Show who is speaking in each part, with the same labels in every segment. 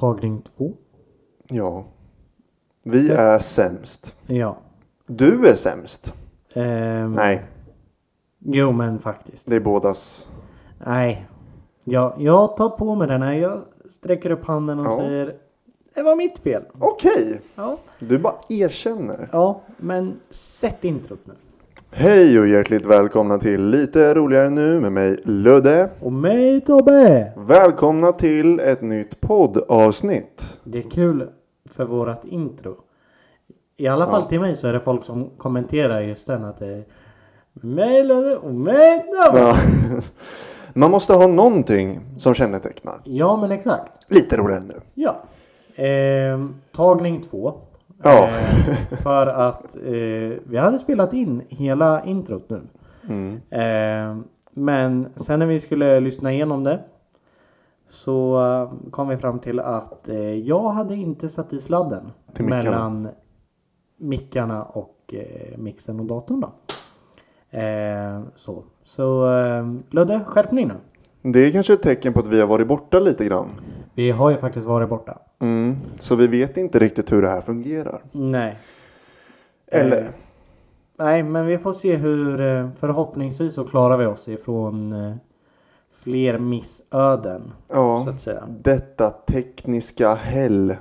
Speaker 1: Dragning två.
Speaker 2: Ja. Vi är sämst.
Speaker 1: Ja.
Speaker 2: Du är sämst.
Speaker 1: Ehm,
Speaker 2: Nej,
Speaker 1: Jo, men faktiskt.
Speaker 2: det är bådas.
Speaker 1: Nej. Ja, jag tar på mig den här. Jag sträcker upp handen och
Speaker 2: Ja.
Speaker 1: säger det var mitt fel.
Speaker 2: Okej,
Speaker 1: Ja.
Speaker 2: du bara erkänner.
Speaker 1: ja, men sätt introt nu.
Speaker 2: Hej och hjärtligt välkomna till Lite roligare nu med mig Ludde.
Speaker 1: Och mig Tobbe!
Speaker 2: Välkomna till ett nytt poddavsnitt.
Speaker 1: Det är kul för vårat intro. I alla fall till mig så är det folk som kommenterar just den att det är mig Ludde och mig Tobbe.
Speaker 2: Ja. Man måste ha någonting som kännetecknar.
Speaker 1: Ja, men exakt.
Speaker 2: Lite roligare nu.
Speaker 1: Ja. Ehm, tagning två.
Speaker 2: Ja.
Speaker 1: Ehm, för att eh, vi hade spelat in hela introt nu.
Speaker 2: Mm.
Speaker 1: Ehm, men sen när vi skulle lyssna igenom det så eh, kom vi fram till att eh, jag hade inte satt i sladden
Speaker 2: Till mickarna.
Speaker 1: mellan mickarna och eh, mixen och datorn. Då. Ehm, så så eh, Ludde, skärpning nu.
Speaker 2: Det är kanske ett tecken på att vi har varit borta lite grann.
Speaker 1: Vi har ju faktiskt varit borta.
Speaker 2: Mm. Så vi vet inte riktigt hur det här fungerar.
Speaker 1: Nej.
Speaker 2: Eller?
Speaker 1: Eh, nej, men vi får se hur eh, förhoppningsvis så klarar vi oss ifrån eh, fler missöden. Så
Speaker 2: Ja.
Speaker 1: att säga.
Speaker 2: Detta tekniska hell.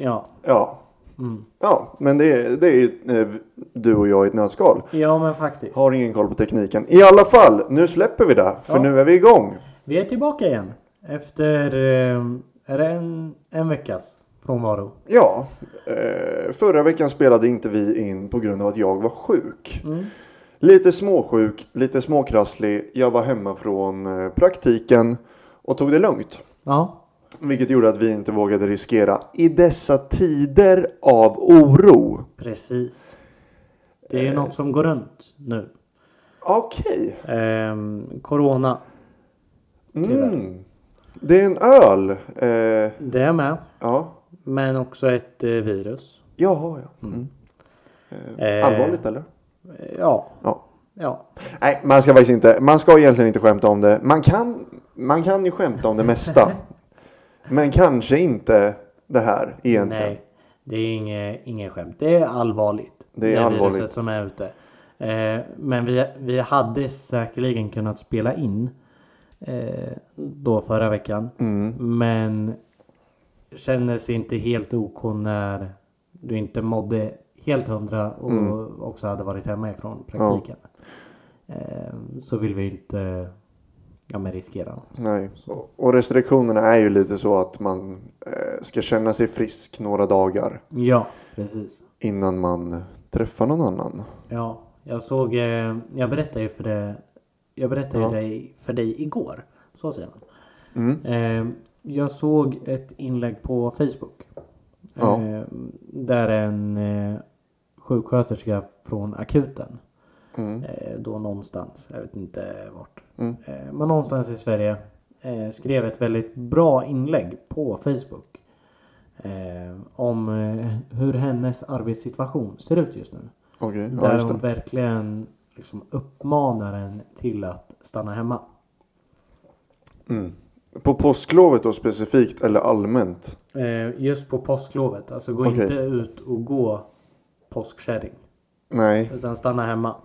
Speaker 1: Ja.
Speaker 2: Ja.
Speaker 1: Mm.
Speaker 2: Ja, men det är, det är eh, du och jag i ett nötskal.
Speaker 1: ja, men faktiskt.
Speaker 2: Har ingen koll på tekniken. I alla fall, nu släpper vi det. För
Speaker 1: Ja.
Speaker 2: nu är vi igång.
Speaker 1: Vi är tillbaka igen. Efter eh, är det en, en veckas frånvaro.
Speaker 2: Ja, eh, förra veckan spelade inte vi in på grund av att jag var sjuk.
Speaker 1: Mm.
Speaker 2: Lite småsjuk, lite småkrasslig. Jag var hemma från eh, praktiken och tog det lugnt.
Speaker 1: Ja.
Speaker 2: Vilket gjorde att vi inte vågade riskera i dessa tider av oro.
Speaker 1: Precis. Det
Speaker 2: Eh.
Speaker 1: är ju något som går runt nu.
Speaker 2: Okej.
Speaker 1: Ehm, corona.
Speaker 2: Mm. Det är en öl. Eh,
Speaker 1: Det är med.
Speaker 2: ja.
Speaker 1: Men också ett eh, virus.
Speaker 2: Jaha, ja. Mm.
Speaker 1: Eh,
Speaker 2: Allvarligt eller?
Speaker 1: Ja.
Speaker 2: Ja.
Speaker 1: Ja.
Speaker 2: Nej, man ska faktiskt inte. Man ska egentligen inte skämta om det. Man kan, man kan ju skämta om det mesta. men kanske inte det här egentligen.
Speaker 1: Nej, det är inget, inget skämt. Det är allvarligt.
Speaker 2: Det är allvarligt.
Speaker 1: viruset som är ute. Eh, men vi, vi hade säkerligen kunnat spela in eh, då förra veckan.
Speaker 2: Mm,
Speaker 1: Men kändes inte helt OK när du inte mådde helt hundra och
Speaker 2: Mm.
Speaker 1: också hade varit hemma ifrån praktiken. Eh, så vill vi inte ja, men riskera något.
Speaker 2: Nej. Och- Och restriktionerna är ju lite så att man eh, ska känna sig frisk några dagar
Speaker 1: Ja, precis.
Speaker 2: innan man träffar någon annan.
Speaker 1: Ja, jag såg... eh, Jag berättade ju för dig... Jag berättade ju dig, för dig igår. Så säger man.
Speaker 2: Mm,
Speaker 1: Eh, Jag såg ett inlägg på Facebook.
Speaker 2: Ja.
Speaker 1: eh, Där en eh, sjuksköterska från akuten.
Speaker 2: mm,
Speaker 1: eh, Då någonstans, jag vet inte vart. eh, Men någonstans i Sverige. eh, Skrev ett väldigt bra inlägg på Facebook. eh, Om eh, hur hennes arbetssituation ser ut just nu.
Speaker 2: Okej, ja,
Speaker 1: Där
Speaker 2: just
Speaker 1: de
Speaker 2: det.
Speaker 1: verkligen liksom uppmanar en till att stanna hemma.
Speaker 2: Mm. På påsklovet då specifikt eller allmänt?
Speaker 1: Eh, just på påsklovet. Alltså gå
Speaker 2: Okej.
Speaker 1: inte ut och gå påskkärring.
Speaker 2: Nej.
Speaker 1: Utan stanna hemma.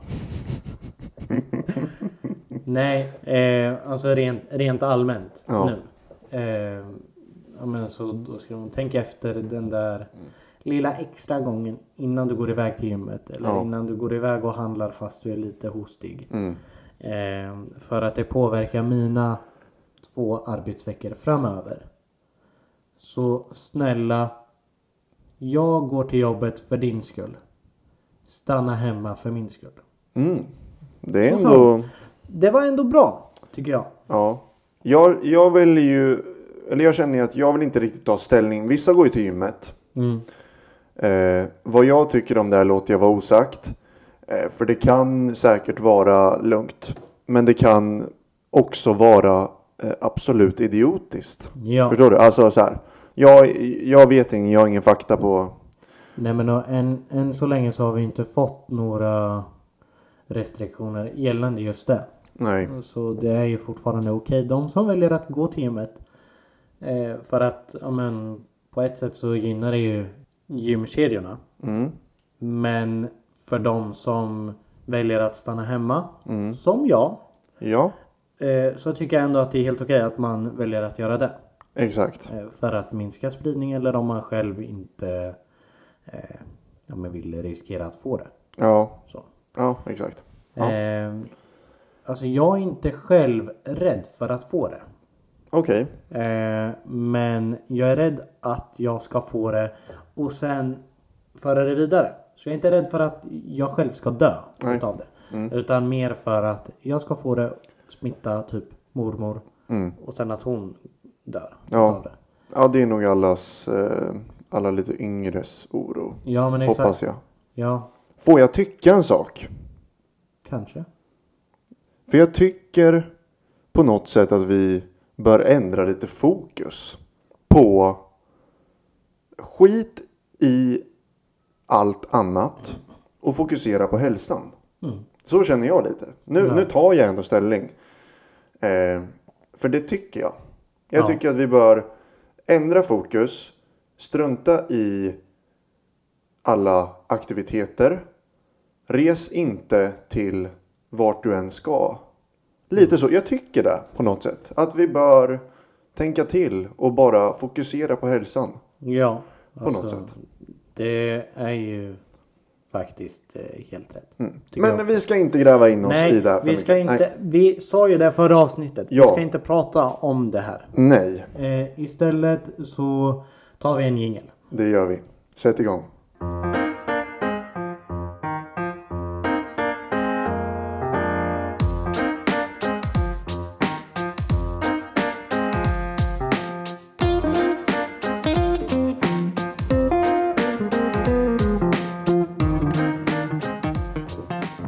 Speaker 1: Nej, eh, alltså rent, rent allmänt
Speaker 2: Ja.
Speaker 1: nu. Eh, ja, men så då ska man tänka efter den där lilla extra gången innan du går iväg till gymmet. Eller
Speaker 2: Ja.
Speaker 1: innan du går iväg och handlar fast du är lite hostig.
Speaker 2: Mm.
Speaker 1: Eh, för att det påverkar mina två arbetsveckor framöver. Så snälla, jag går till jobbet för din skull. Stanna hemma för min skull.
Speaker 2: Mm. Det är
Speaker 1: Så
Speaker 2: ändå...
Speaker 1: Det var ändå bra, tycker jag.
Speaker 2: Ja. Jag, jag vill ju... Eller jag känner ju att jag vill inte riktigt ta ställning. Vissa går ju till gymmet.
Speaker 1: Mm.
Speaker 2: Eh, vad jag tycker om det här låter jag vara osagt. Eh, för det kan säkert vara lugnt. Men det kan också vara eh, absolut idiotiskt.
Speaker 1: Ja.
Speaker 2: Förstår du? Alltså så här. Jag, jag vet ingen, jag har ingen fakta på...
Speaker 1: Nej men och än, än så länge så har vi inte fått några restriktioner gällande just det.
Speaker 2: Nej.
Speaker 1: Så det är ju fortfarande okej. De som väljer att gå till gymmet Eh, för att ja, men, på ett sätt så gynnar det ju gymkedjorna.
Speaker 2: Mm.
Speaker 1: Men för de som väljer att stanna hemma, som jag,
Speaker 2: Ja,
Speaker 1: eh, så tycker jag ändå att det är helt okej att man väljer att göra det.
Speaker 2: exakt.
Speaker 1: Eh, För att minska spridning eller om man själv inte eh, ja, men vill riskera att få det.
Speaker 2: Ja,
Speaker 1: Så.
Speaker 2: ja exakt. Ja.
Speaker 1: Eh, alltså jag är inte själv rädd för att få det.
Speaker 2: Okej.
Speaker 1: Eh, men jag är rädd att jag ska få det och sen föra det vidare. Så jag är inte rädd för att jag själv ska dö
Speaker 2: Nej. Mm.
Speaker 1: utav det. Utan mer för att jag ska få det, smitta typ mormor och sen att hon dör
Speaker 2: Mm. Ja.
Speaker 1: utav det.
Speaker 2: Ja, det är nog allas, eh, alla lite yngres oro.
Speaker 1: Ja men exakt.
Speaker 2: Hoppas jag.
Speaker 1: Ja,
Speaker 2: Får jag tycka en sak?
Speaker 1: kanske.
Speaker 2: För jag tycker på något sätt att vi bör ändra lite fokus på skit i allt annat och fokusera på hälsan. Så känner jag lite. Nu, nu tar jag ändå ställning. Eh, för det tycker jag. Jag
Speaker 1: Ja.
Speaker 2: tycker att vi bör ändra fokus, strunta i alla aktiviteter. Res inte till vart du än ska. Lite så. Jag tycker det på något sätt. Att vi bör tänka till och bara fokusera på hälsan.
Speaker 1: Ja. På
Speaker 2: något sätt.
Speaker 1: Alltså, Det är ju faktiskt eh, helt rätt. tycker jag.
Speaker 2: Mm. Men vi ska inte gräva in oss i
Speaker 1: Nej,
Speaker 2: det här för
Speaker 1: vi ska
Speaker 2: mycket.
Speaker 1: inte. Vi sa ju det förra avsnittet.
Speaker 2: Ja.
Speaker 1: Vi ska inte prata om det här.
Speaker 2: Nej, nej,
Speaker 1: Eh, istället så tar vi en jingel.
Speaker 2: det gör vi. Sätt igång.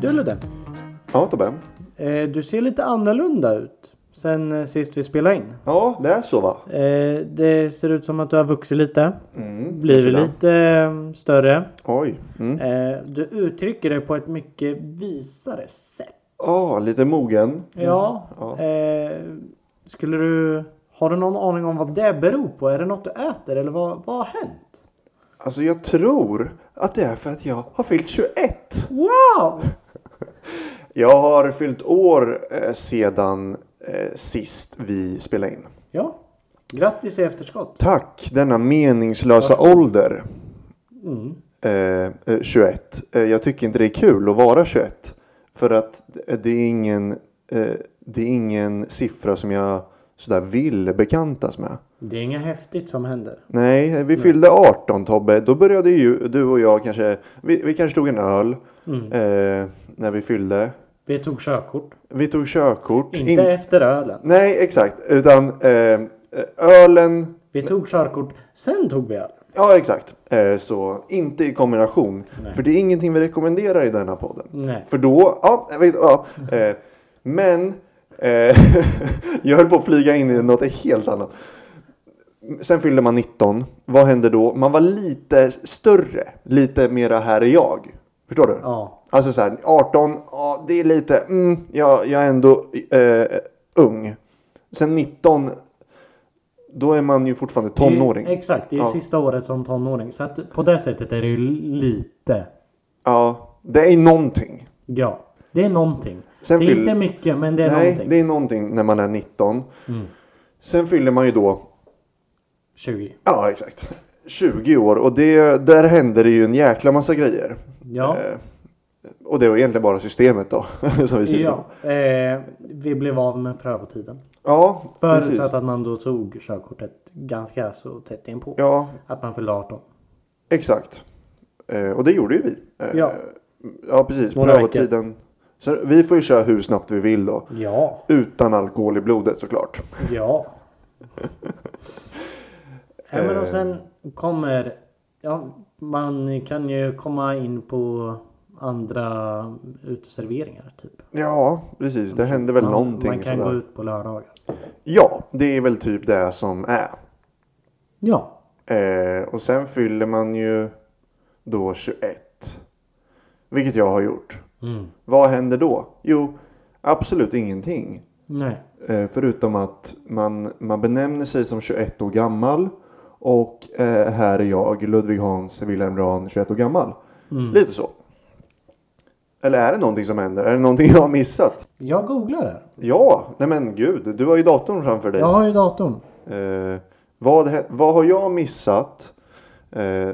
Speaker 1: Du Ludde,
Speaker 2: Ja, Tobbe.
Speaker 1: eh, du ser lite annorlunda ut sen eh, sist vi spelade in.
Speaker 2: Ja, det är så va?
Speaker 1: Eh, det ser ut som att du har vuxit lite.
Speaker 2: Mm,
Speaker 1: Blivit
Speaker 2: kanske det.
Speaker 1: lite eh, större.
Speaker 2: Oj. Mm.
Speaker 1: Eh, du uttrycker dig på ett mycket visare sätt.
Speaker 2: Ja, lite mogen.
Speaker 1: Ja.
Speaker 2: Ja.
Speaker 1: Eh, skulle du... Har du någon aning om vad det beror på? Är det något du äter eller vad, vad har hänt?
Speaker 2: Alltså jag tror att det är för att jag har fyllt 21.
Speaker 1: Wow!
Speaker 2: Jag har fyllt år eh, sedan eh, sist vi spelade in.
Speaker 1: Ja. Grattis i efterskott.
Speaker 2: Tack denna meningslösa ålder.
Speaker 1: Mm.
Speaker 2: Eh, eh, 21. Eh, jag tycker inte det är kul att vara 21. För att det är ingen, eh, det är ingen siffra som jag sådär vill bekantas med.
Speaker 1: Det är inget häftigt som händer.
Speaker 2: Nej, eh, vi fyllde 18 Tobbe. Då började ju du och jag kanske. Vi, vi kanske tog en öl. Eh, när vi fyllde.
Speaker 1: Vi tog körkort.
Speaker 2: Vi tog körkort.
Speaker 1: Inte
Speaker 2: In-
Speaker 1: efter ölen.
Speaker 2: Nej, exakt. Utan eh, ölen.
Speaker 1: Vi tog körkort, sen tog vi öl.
Speaker 2: Ja, exakt. Eh, så inte i kombination. För det är ingenting vi rekommenderar i denna podden.
Speaker 1: Nej.
Speaker 2: För då, ja, jag vet, ja. Eh, men eh, jag höll på att flyga in i något helt annat. Sen fyllde man 19. Vad hände då? Man var lite större. Lite mera här är jag. Förstår du?
Speaker 1: Ja.
Speaker 2: Alltså så här, 18, ja det är lite, mm, jag, jag är ändå eh, ung. Sen 19, då är man ju fortfarande
Speaker 1: Det är ju-
Speaker 2: tonåring.
Speaker 1: Exakt, det är
Speaker 2: Ja.
Speaker 1: sista året som tonåring. Så att på det sättet är det ju lite.
Speaker 2: Ja, det är någonting.
Speaker 1: Ja. Det är någonting.
Speaker 2: Sen
Speaker 1: det är
Speaker 2: fyll-
Speaker 1: inte mycket, men det är
Speaker 2: Nej,
Speaker 1: någonting. Mm.
Speaker 2: det är någonting när man är 19. Sen fyller man ju då,
Speaker 1: 20.
Speaker 2: ja exakt, 20 år. Och det, där händer det ju en jäkla massa grejer.
Speaker 1: Ja.
Speaker 2: Eh, och det var egentligen bara systemet då. som vi ser ja.
Speaker 1: ja. Eh, vi blev av med prövotiden.
Speaker 2: ja,
Speaker 1: Förutsatt
Speaker 2: precis.
Speaker 1: att man då tog körkortet ganska så tätt inpå.
Speaker 2: Ja,
Speaker 1: Att man fyllde 18.
Speaker 2: Exakt. Eh, och det gjorde ju vi. Eh,
Speaker 1: Ja.
Speaker 2: ja, precis.
Speaker 1: Några
Speaker 2: Prövotiden. Så vi får ju köra hur snabbt vi vill då.
Speaker 1: Ja.
Speaker 2: Utan alkohol i blodet såklart.
Speaker 1: Ja. ja
Speaker 2: Eh.
Speaker 1: men och sen kommer... Ja, man kan ju komma in på andra uteserveringar typ.
Speaker 2: Ja, precis. Det hände väl
Speaker 1: man,
Speaker 2: någonting
Speaker 1: Man kan
Speaker 2: sådär.
Speaker 1: gå ut på lördagar.
Speaker 2: Ja, det är väl typ det som är.
Speaker 1: Ja.
Speaker 2: Eh, och sen fyller man ju då 21. Vilket jag har gjort.
Speaker 1: Mm.
Speaker 2: Vad händer då? Jo, absolut ingenting.
Speaker 1: Nej.
Speaker 2: Eh, förutom att man, man benämner sig som 21 år gammal och eh, här är jag, Ludvig Hans Wilhelm Rahn, 21 år gammal. Lite så. Eller är det någonting som händer? Är det någonting jag har missat?
Speaker 1: Jag googlar här.
Speaker 2: Ja, nej men gud, du har ju datorn framför dig.
Speaker 1: Jag har ju datorn.
Speaker 2: Eh, vad, hä- vad har jag missat eh,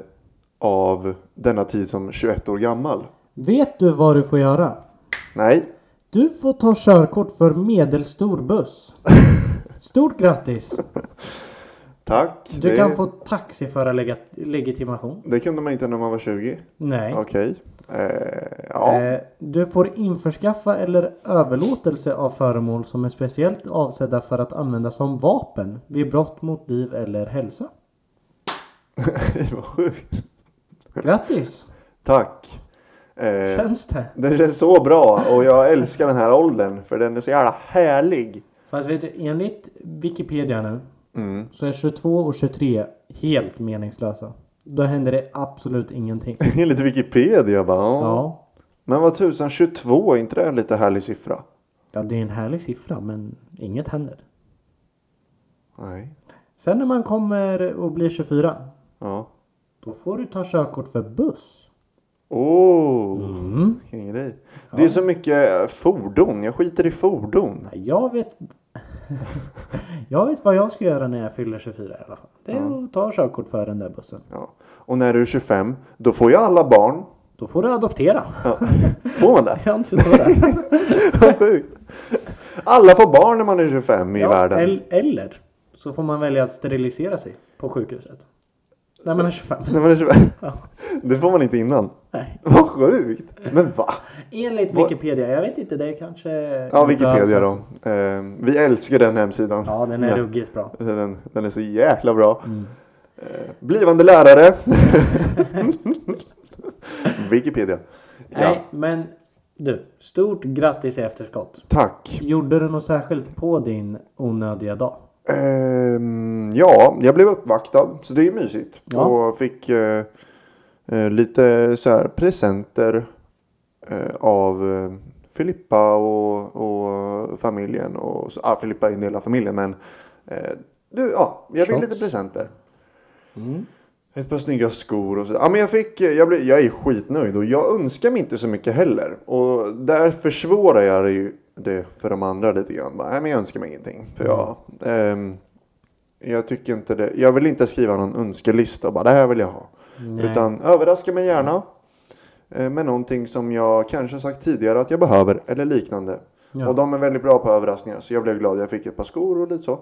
Speaker 2: av denna tid som 21 år gammal?
Speaker 1: Vet du vad du får göra?
Speaker 2: Nej,
Speaker 1: Du får ta körkort för medelstor buss. Stort grattis!
Speaker 2: tack.
Speaker 1: Du
Speaker 2: det,
Speaker 1: kan få taxiförarlegitimation.
Speaker 2: det kunde man inte när man var 20.
Speaker 1: Nej.
Speaker 2: Okej. Eh, ja.
Speaker 1: Eh, Du får införskaffa eller överlåtelse av föremål som är speciellt avsedda för att användas som vapen vid brott mot liv eller hälsa.
Speaker 2: vad sjukt.
Speaker 1: Grattis!
Speaker 2: Tack. Eh,
Speaker 1: Känns det?
Speaker 2: det känns så bra och jag älskar den här åldern för den är så jävla härlig.
Speaker 1: Fast vet du, enligt Wikipedia nu
Speaker 2: Mm.
Speaker 1: så är 22 och 23 helt meningslösa. Då händer det absolut ingenting.
Speaker 2: Enligt Wikipedia bara. Ja.
Speaker 1: Ja,
Speaker 2: Men vad tusan, 22, är inte det en lite härlig siffra?
Speaker 1: ja det är en härlig siffra men inget händer.
Speaker 2: Nej.
Speaker 1: Sen när man kommer och blir 24
Speaker 2: Ja.
Speaker 1: då får du ta körkort för buss.
Speaker 2: Åh, oh,
Speaker 1: Mm.
Speaker 2: vilken grej. Det är så mycket fordon. Jag skiter i fordon.
Speaker 1: Nej, Jag vet... jag vet vad jag ska göra när jag fyller 24 i alla fall. Det är att ta körkort för den där bussen.
Speaker 2: Ja. Och när du är 25, då får jag alla barn.
Speaker 1: Då får du adoptera.
Speaker 2: Får man det?
Speaker 1: Jag inte så där.
Speaker 2: Vad sjukt. Alla får barn när man är 25 i
Speaker 1: Ja,
Speaker 2: världen.
Speaker 1: el- eller så får man välja att sterilisera sig på sjukhuset. När man är 25.
Speaker 2: När man är 25. Det får man inte innan.
Speaker 1: Nej.
Speaker 2: Vad sjukt. Men va?
Speaker 1: Enligt Wikipedia. Jag vet inte, det är kanske...
Speaker 2: Ja, Wikipedia då. Eh, vi älskar den hemsidan.
Speaker 1: Ja, den är Mm. ruggigt bra.
Speaker 2: Den, den är så jäkla bra. Eh, blivande lärare. Wikipedia. Ja,
Speaker 1: Nej, men du. Stort grattis i efterskott.
Speaker 2: tack.
Speaker 1: Gjorde du något särskilt på din onödiga dag?
Speaker 2: Ehm, ja, jag blev uppvaktad så det är mysigt.
Speaker 1: Ja.
Speaker 2: Och fick eh, eh, lite så här presenter eh, av eh, Filippa och, och familjen. Och, så- ah, Filippa är en del av familjen men eh, du, ja, jag fick
Speaker 1: Shots.
Speaker 2: lite presenter. Ett par snygga skor och så. Ja, men jag, fick, eh, jag, blev, jag är skitnöjd och jag önskar mig inte så mycket heller. Och där försvårar jag det, ju, det för de andra lite grann. Bara, Nej, men jag önskar mig ingenting. För jag, ehm, jag tycker inte det. Jag vill inte skriva någon önskelista och bara det här vill jag ha.
Speaker 1: Nej.
Speaker 2: Utan överraska mig gärna. eh, Med någonting som jag kanske sagt tidigare att jag behöver eller liknande.
Speaker 1: Ja.
Speaker 2: Och de är väldigt bra på överraskningar så jag blev glad. Jag fick ett par skor och lite så.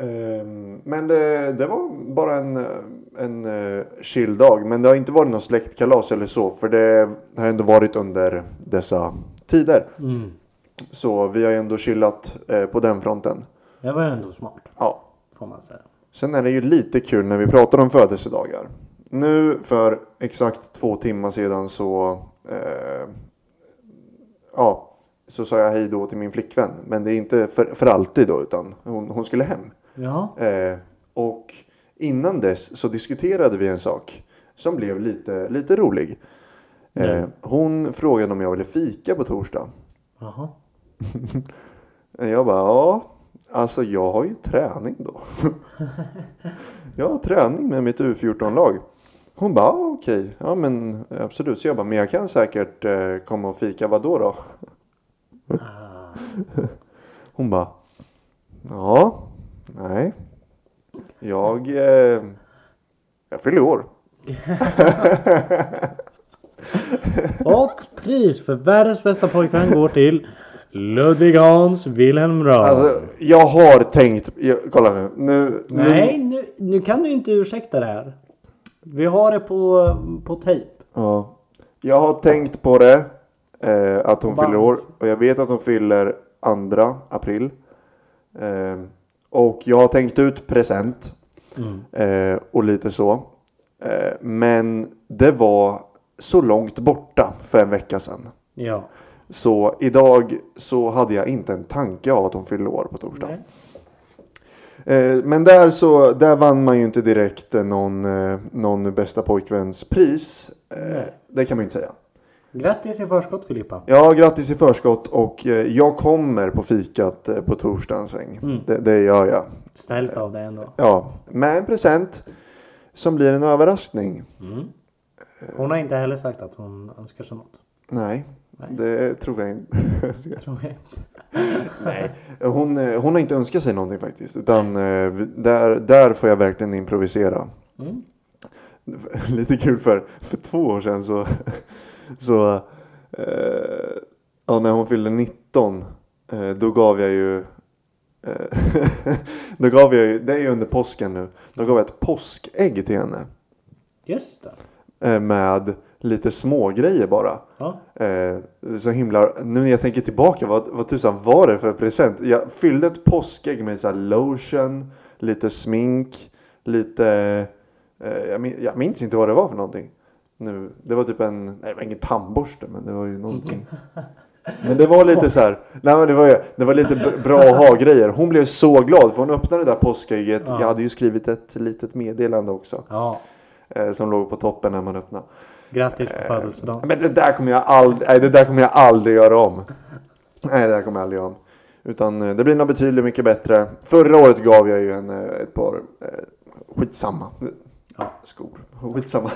Speaker 2: Ehm, Men det, det var bara en, en eh, chill dag. Men det har inte varit någon släktkalas eller så. För det har ändå varit under dessa tider.
Speaker 1: Mm.
Speaker 2: Så vi har ju ändå chillat eh, på den fronten.
Speaker 1: Det var ändå smart,
Speaker 2: Ja.
Speaker 1: får man säga.
Speaker 2: Sen är det ju lite kul när vi pratar om födelsedagar. Nu för exakt två timmar sedan så... Eh, ja, så sa jag hej då till min flickvän. Men det är inte för, för alltid då, utan hon, hon skulle hem.
Speaker 1: Ja.
Speaker 2: Eh, och innan dess så diskuterade vi en sak som blev lite, lite rolig. Eh, hon frågade om jag ville fika på torsdag.
Speaker 1: Jaha.
Speaker 2: Jag bara, ja. Alltså jag har ju träning då. jag har träning med mitt U14-lag. Hon bara, ja, okej. Ja men absolut. Så jag bara, men jag kan säkert eh, komma och fika. Vadå då?
Speaker 1: Ah.
Speaker 2: Hon bara, ja. Nej. Jag, eh, jag fyller år.
Speaker 1: Och pris för världens bästa pojkvän går till Ludvig Hans Wilhelm Röhr.
Speaker 2: Alltså jag har tänkt, jag, kolla nu. nu, nu
Speaker 1: Nej, nu, nu kan du inte ursäkta det här. Vi har det på, på tejp.
Speaker 2: ja, jag har tänkt på det. Eh, att hon
Speaker 1: Band.
Speaker 2: fyller år. Och jag vet att hon fyller 2 april. Eh, och jag har tänkt ut present.
Speaker 1: Mm.
Speaker 2: Eh, och lite så. Eh, men det var så långt borta för en vecka sedan.
Speaker 1: Ja.
Speaker 2: Så idag så hade jag inte en tanke av att hon fyllde år på torsdag.
Speaker 1: Nej.
Speaker 2: Eh, Men där, så, där vann man ju inte direkt eh, någon, eh, någon bästa pojkväns pris. Eh,
Speaker 1: Nej.
Speaker 2: Det kan man ju inte säga.
Speaker 1: Grattis i förskott Filippa.
Speaker 2: Ja, grattis i förskott och eh, jag kommer på fikat eh, på torsdag en sväng. Det, det gör jag.
Speaker 1: Mm. Snällt av dig ändå.
Speaker 2: Ja, med en present som blir en överraskning.
Speaker 1: Mm. Hon har inte heller sagt att hon önskar sig något.
Speaker 2: Nej, det tror jag inte.
Speaker 1: Tror jag inte.
Speaker 2: Nej. Hon, eh, hon har inte önskat sig någonting faktiskt. Utan eh, vi- där, där får jag verkligen improvisera.
Speaker 1: Mm.
Speaker 2: Lite kul för, för två år sedan så... så eh, ja, när hon fyllde 19 eh, då gav jag ju... eh, då gav jag ju, det är ju under påsken nu, då gav jag ett påskägg till henne.
Speaker 1: Just det.
Speaker 2: eh, Med lite smågrejer bara.
Speaker 1: Ja.
Speaker 2: Eh, så himla... Nu när jag tänker tillbaka, vad, vad tusan var det för present? Jag fyllde ett påskägg med så här lotion, lite smink, lite... Eh, jag, min, jag minns inte vad det var för någonting. Nu, det var typ en... Nej, det var ingen tandborste, men det var ju någonting. Men det var lite så här, nej men det var, ju- det var lite br- bra att ha-grejer. Hon blev så glad för hon öppnade det där påskägget.
Speaker 1: Ja.
Speaker 2: Jag hade ju skrivit ett litet meddelande också.
Speaker 1: ja.
Speaker 2: Eh, som låg på toppen när man öppnade.
Speaker 1: Grattis på födelsedagen.
Speaker 2: Men det där kommer jag aldrig, nej, det där kommer jag aldrig göra om. Nej, det där kommer jag aldrig göra om. Utan eh, det blir nog betydligt mycket bättre. Förra året gav jag ju en, eh, ett par, eh, skitsamma.
Speaker 1: Ja.
Speaker 2: Skor, skitsamma.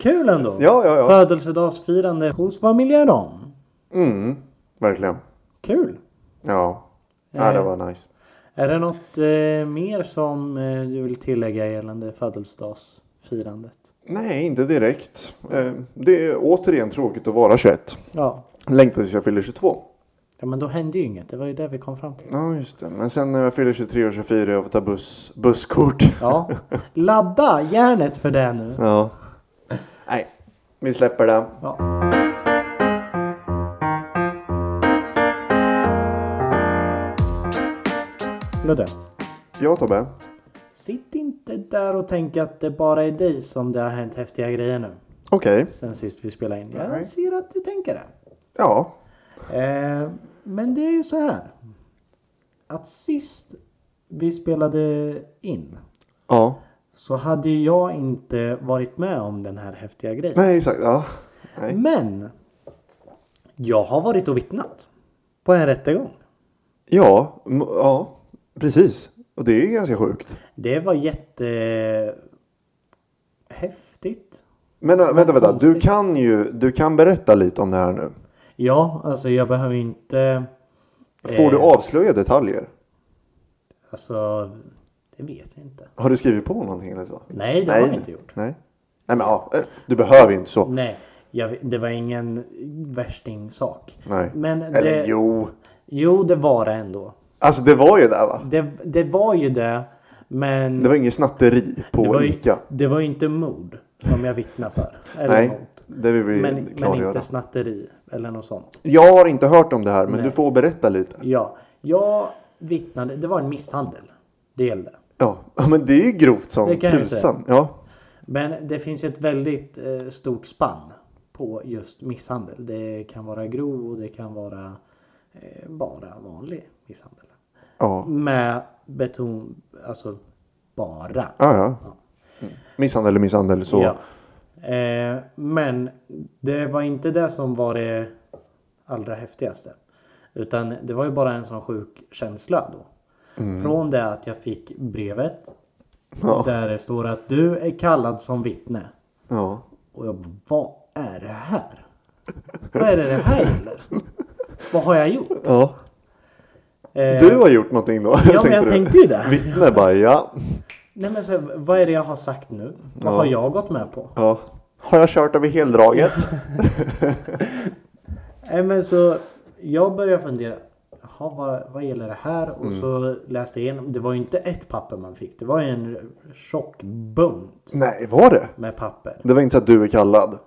Speaker 1: Kul ändå.
Speaker 2: Ja, ja, ja.
Speaker 1: Födelsedagsfirande hos familjen Rom.
Speaker 2: Mm, verkligen.
Speaker 1: Kul.
Speaker 2: Ja. ja, det var nice.
Speaker 1: Är det något eh, mer som eh, du vill tillägga gällande födelsedagsfirandet?
Speaker 2: Nej, inte direkt. Eh, det är återigen tråkigt att vara 21.
Speaker 1: Ja.
Speaker 2: Längtar tills jag fyller 22.
Speaker 1: ja, men då hände ju inget. Det var ju det vi kom fram till.
Speaker 2: Ja, just det. Men sen när jag fyller 23 och 24 jag får ta buss, busskort.
Speaker 1: Ja. Ladda järnet för det nu.
Speaker 2: Ja. Nej, vi släpper det.
Speaker 1: Ja. Ludde,
Speaker 2: Ja, Tobbe.
Speaker 1: sitt inte där och tänk att det bara är dig som det har hänt häftiga grejer nu.
Speaker 2: Okej.
Speaker 1: Sen sist vi spelade in.
Speaker 2: Nej.
Speaker 1: Jag ser att du tänker det.
Speaker 2: Ja.
Speaker 1: Eh, men det är ju så här. Att sist vi spelade in
Speaker 2: Ja.
Speaker 1: så hade ju jag inte varit med om den här häftiga grejen.
Speaker 2: Nej, exakt. Ja. Nej.
Speaker 1: Men jag har varit och vittnat på en rättegång.
Speaker 2: Ja. m- Ja. Precis. Och det är ju ganska sjukt.
Speaker 1: Det var jätte häftigt.
Speaker 2: Men äh, vänta, vänta. Du
Speaker 1: konstigt.
Speaker 2: kan ju du kan berätta lite om det här nu.
Speaker 1: Ja, alltså jag behöver inte...
Speaker 2: Får
Speaker 1: Eh.
Speaker 2: du avslöja detaljer?
Speaker 1: Alltså, det vet jag inte.
Speaker 2: Har du skrivit på någonting eller så?
Speaker 1: Nej, det har jag inte gjort.
Speaker 2: Nej. Nej, men ja. eh, Du behöver ju inte så.
Speaker 1: Nej, jag, det var ingen värstingsak.
Speaker 2: Nej.
Speaker 1: Men det,
Speaker 2: Eller jo.
Speaker 1: Jo, det var det ändå.
Speaker 2: Alltså det var ju där va?
Speaker 1: Det, det var ju det, men
Speaker 2: Det var inget snatteri på
Speaker 1: det var, ju,
Speaker 2: Ica.
Speaker 1: det var ju inte mord som jag vittnade för. Eller
Speaker 2: Nej.
Speaker 1: något.
Speaker 2: Det vill vi
Speaker 1: Men, men
Speaker 2: klargöra.
Speaker 1: inte snatteri eller något sånt.
Speaker 2: Jag har inte hört om det här, men du får berätta lite.
Speaker 1: Ja, jag vittnade. Det var en misshandel. Det gällde.
Speaker 2: Ja, Ja, men det är ju grovt som
Speaker 1: Det kan jag ju säga.
Speaker 2: tusan. Ja.
Speaker 1: Men det finns ju ett väldigt eh, stort spann på just misshandel. Det kan vara grov och det kan vara eh, bara vanlig misshandel.
Speaker 2: Ja.
Speaker 1: Med beton, alltså bara.
Speaker 2: Ja, ja. Misshandel eller misshandel så.
Speaker 1: Ja. Eh, men det var inte det som var det allra häftigaste. Utan det var ju bara en sån sjuk känsla då. Från det att jag fick brevet
Speaker 2: Ja.
Speaker 1: där det står att du är kallad som vittne.
Speaker 2: Ja.
Speaker 1: Och jag bara, vad är det här? Vad är det det här gäller? Vad har jag gjort?
Speaker 2: ja.
Speaker 1: Eh,
Speaker 2: Du har gjort någonting då?
Speaker 1: ja, men jag
Speaker 2: du.
Speaker 1: tänkte ju det.
Speaker 2: Vittne bara, ja.
Speaker 1: Nej, men så, här, vad är det jag har sagt nu? Vad har jag gått med på?
Speaker 2: ja. Har jag kört över heldraget?
Speaker 1: Nej men så jag började fundera. Jaha, vad, vad gäller det här? Och
Speaker 2: Mm.
Speaker 1: så läste jag igenom. Det var ju inte ett papper man fick. Det var ju en tjock bunt
Speaker 2: Nej, var det?
Speaker 1: med papper.
Speaker 2: Det var inte så att du är kallad?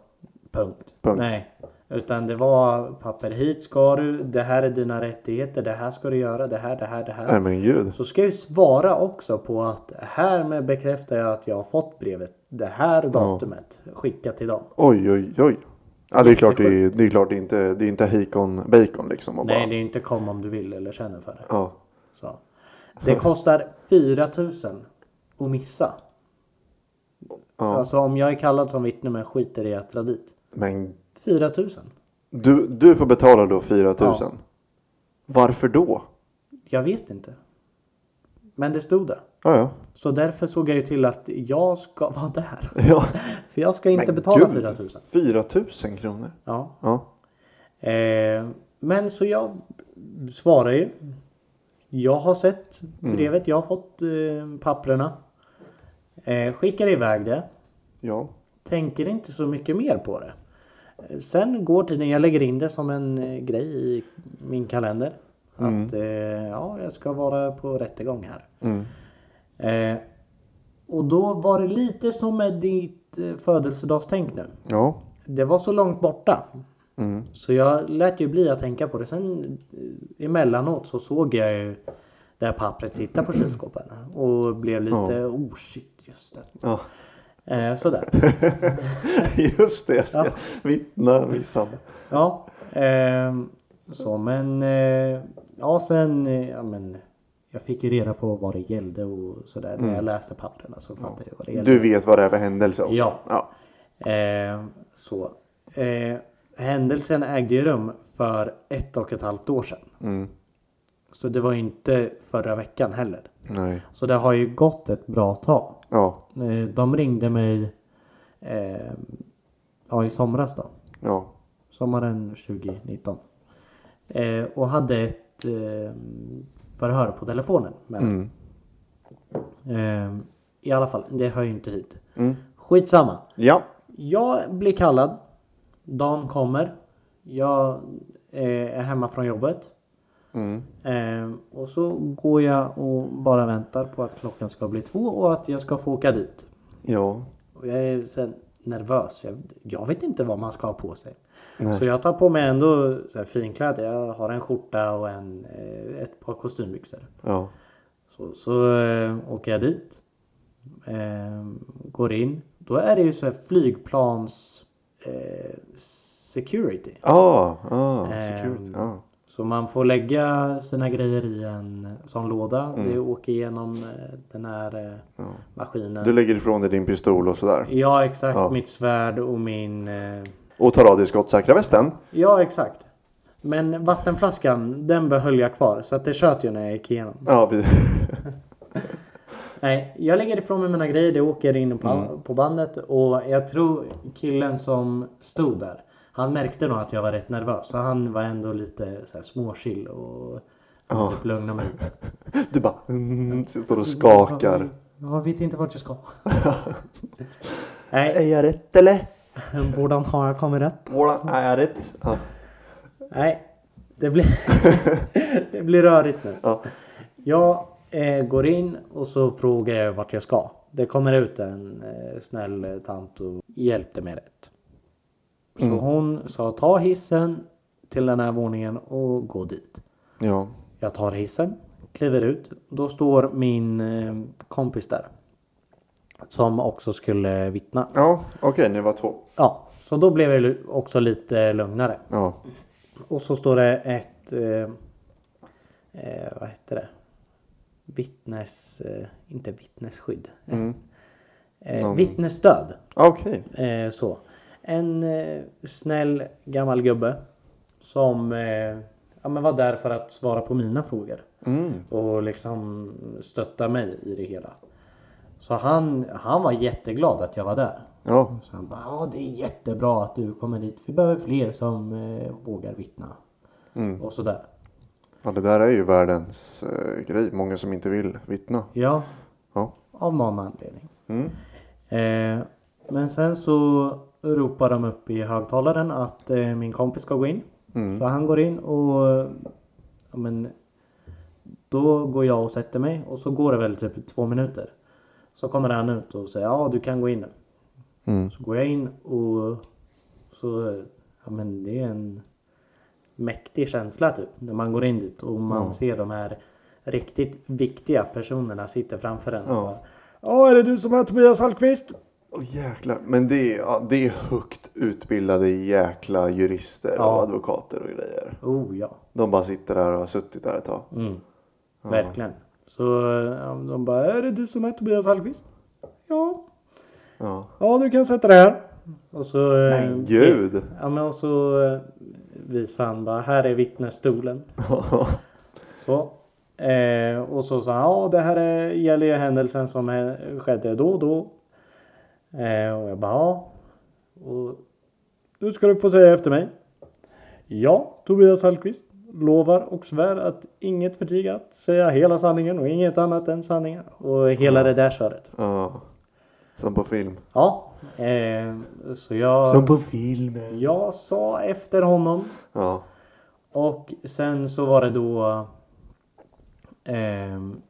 Speaker 1: Punkt.
Speaker 2: Punkt.
Speaker 1: Nej. Utan det var papper. Hit ska du. Det här är dina rättigheter. Det här ska du göra. Det här, det här, det här.
Speaker 2: Nej, men gud.
Speaker 1: Så ska jag ju svara också på att härmed bekräftar jag att jag har fått brevet. Det här datumet. Skicka till dem.
Speaker 2: Oj, oj, oj. Ja, det är klart det är, det är, klart, det är inte, det är inte hejkon bacon liksom. Och
Speaker 1: Nej,
Speaker 2: bara,
Speaker 1: det är inte kom om du vill eller känner för det.
Speaker 2: ja.
Speaker 1: Så. Det kostar 4000 att missa. Alltså om jag är kallad som vittne men skiter i att dra dit.
Speaker 2: Men
Speaker 1: 4 000.
Speaker 2: Du, du får betala då 4 000. Varför då?
Speaker 1: Jag vet inte. Men det stod det.
Speaker 2: Ja, ja.
Speaker 1: Så därför såg jag ju till att jag ska vara där.
Speaker 2: ja.
Speaker 1: För jag ska inte
Speaker 2: Men
Speaker 1: betala
Speaker 2: gud.
Speaker 1: 4 000.
Speaker 2: 4 000 kronor.
Speaker 1: Ja.
Speaker 2: Ja.
Speaker 1: Eh, men så jag svarar ju. Jag har sett
Speaker 2: Mm.
Speaker 1: brevet, jag har fått eh, papprena. Eh, skickar iväg det.
Speaker 2: Ja.
Speaker 1: Tänker inte så mycket mer på det. Eh, Sen går tiden, jag lägger in det som en eh, grej i min kalender. Att eh, ja, jag ska vara på rättegång här.
Speaker 2: Mm.
Speaker 1: Eh, och då var det lite som med ditt eh, födelsedagstänk nu.
Speaker 2: Ja.
Speaker 1: Det var så långt borta.
Speaker 2: Mm.
Speaker 1: Så jag lät ju bli att tänka på det. Sen eh, emellanåt så såg jag ju det här pappret sitta på kylskåpen. Och blev lite oh shit just
Speaker 2: ja.
Speaker 1: det. Eh, sådär.
Speaker 2: Just det. Jag ska vittna misshandel.
Speaker 1: Ja. ehm, så men. Eh, ja sen. Eh, ja, men, jag fick ju reda på vad det gällde och sådär. När jag läste papperna så fattade jag vad det gällde.
Speaker 2: Du vet vad det är för händelse? också.
Speaker 1: Ja.
Speaker 2: ja.
Speaker 1: Eh, så. Eh, händelsen ägde ju rum för ett och ett halvt år sedan.
Speaker 2: Mm.
Speaker 1: Så det var ju inte förra veckan heller.
Speaker 2: Nej.
Speaker 1: Så det har ju gått ett bra tag.
Speaker 2: Ja.
Speaker 1: Eh, De ringde mig eh, ja, i somras då.
Speaker 2: Ja.
Speaker 1: Sommaren 2019. Eh, och hade ett eh, förhör på telefonen med mig.
Speaker 2: Mm.
Speaker 1: eh, I alla fall, det hör ju inte hit.
Speaker 2: Mm.
Speaker 1: Skitsamma.
Speaker 2: Ja.
Speaker 1: Jag blir kallad. Dan kommer. Jag eh, är hemma från jobbet.
Speaker 2: Mm.
Speaker 1: Eh, och så går jag och bara väntar på att klockan ska bli två och att jag ska få åka dit.
Speaker 2: Ja.
Speaker 1: Och jag är så här nervös. Jag, jag vet inte vad man ska ha på sig. Så jag tar på mig ändå så här finkläder. Jag har en skjorta och en, eh, ett par kostymbyxor.
Speaker 2: Ja.
Speaker 1: Så, så eh, åker jag dit. Eh, går in. Då är det ju så här flygplans eh, security.
Speaker 2: Ah, ah, security.
Speaker 1: Ehm,
Speaker 2: Ah.
Speaker 1: Så man får lägga sina grejer i en sån låda. Det åker igenom eh, den här eh,
Speaker 2: Mm. Ja.
Speaker 1: maskinen.
Speaker 2: Du lägger ifrån dig din pistol och sådär.
Speaker 1: Ja exakt,
Speaker 2: Ja.
Speaker 1: mitt svärd och min... Eh,
Speaker 2: Och tar av dig skottsäkra västen.
Speaker 1: ja exakt. Men vattenflaskan, den behöll jag kvar. Så att det tjöt ju när jag gick igenom.
Speaker 2: Ja, vi-
Speaker 1: Nej, jag lägger ifrån mig mina grejer, det åker in på, på bandet och jag tror killen som stod där, han märkte nog att jag var rätt nervös så han var ändå lite så här småchill och han typ lugnade mig.
Speaker 2: du bara mm, står och skakar.
Speaker 1: Jag vet inte vart jag ska. Nej,
Speaker 2: jag rätt eller?
Speaker 1: borde har jag kommit rätt?
Speaker 2: Är jag rätt? Ja.
Speaker 1: Nej, det blir, det blir rörigt nu.
Speaker 2: Ja.
Speaker 1: Jag eh, går in och så frågar jag vart jag ska. Det kommer ut en eh, snäll eh, tant och hjälpte mig rätt. Så hon sa ta hissen till den här våningen och gå dit.
Speaker 2: ja.
Speaker 1: Jag tar hissen, kliver ut. Då står min eh, kompis där. Som också skulle vittna.
Speaker 2: Ja, okej, ni var två.
Speaker 1: Ja, så då blev det lu- också lite lugnare.
Speaker 2: Ja.
Speaker 1: Och så står det ett... Eh, eh, vad heter det? Vittnes... Eh, inte vittnesskydd.
Speaker 2: Mm.
Speaker 1: Eh, vittnesstöd.
Speaker 2: Okej.
Speaker 1: Eh, så. En eh, snäll gammal gubbe. Som eh, ja, men var där för att svara på mina frågor.
Speaker 2: Mm.
Speaker 1: Och liksom stötta mig i det hela. Så han, han var jätteglad att jag var där.
Speaker 2: Ja.
Speaker 1: Så han bara, ja det är jättebra att du kommer hit. Vi behöver fler som eh, vågar vittna.
Speaker 2: Mm.
Speaker 1: Och sådär.
Speaker 2: ja, det där är ju världens eh, grej. Många som inte vill vittna.
Speaker 1: Ja,
Speaker 2: Ja.
Speaker 1: av någon anledning.
Speaker 2: Mm.
Speaker 1: Eh, men sen så ropar de upp i högtalaren att eh, min kompis ska gå in.
Speaker 2: Mm.
Speaker 1: Så han går in och... eh, Ja, men, då går jag och sätter mig och så går det väl typ två minuter. Så kommer han ut och säger ja du kan gå in nu.
Speaker 2: Mm.
Speaker 1: Så går jag in och så, ja men det är en mäktig känsla typ. När man går in dit och man ser de här riktigt viktiga personerna sitter framför en.
Speaker 2: Ja.
Speaker 1: och bara, Ja, är det du som är Tobias Hallqvist?
Speaker 2: Åh jäklar. Men det är, ja, det är högt utbildade jäkla jurister och
Speaker 1: Ja.
Speaker 2: advokater och grejer.
Speaker 1: Oh ja, Mm.
Speaker 2: De bara sitter där och har suttit där ett tag.
Speaker 1: verkligen. Så ja, de bara, är det du som är Tobias Hallqvist? Ja.
Speaker 2: Ja.
Speaker 1: Ja, du kan sätta dig här. Och så, eh,
Speaker 2: Men gud.
Speaker 1: Ja, men och så eh, visade han bara, här är vittnesstolen. Så. Eh, och så sa han, ja det här är, gäller ju händelsen som hä- skedde då och då. Eh, och jag bara, ja. Och, nu ska du få säga efter mig. Ja, Tobias Hallqvist lovar och svär att inget förtiga att säga hela sanningen och inget annat än sanningen. Och hela det där köret.
Speaker 2: ja. Som på film.
Speaker 1: Ja, eh, så jag,
Speaker 2: Som på filmen.
Speaker 1: jag sa efter honom.
Speaker 2: Ja.
Speaker 1: Och sen så var det då ehm,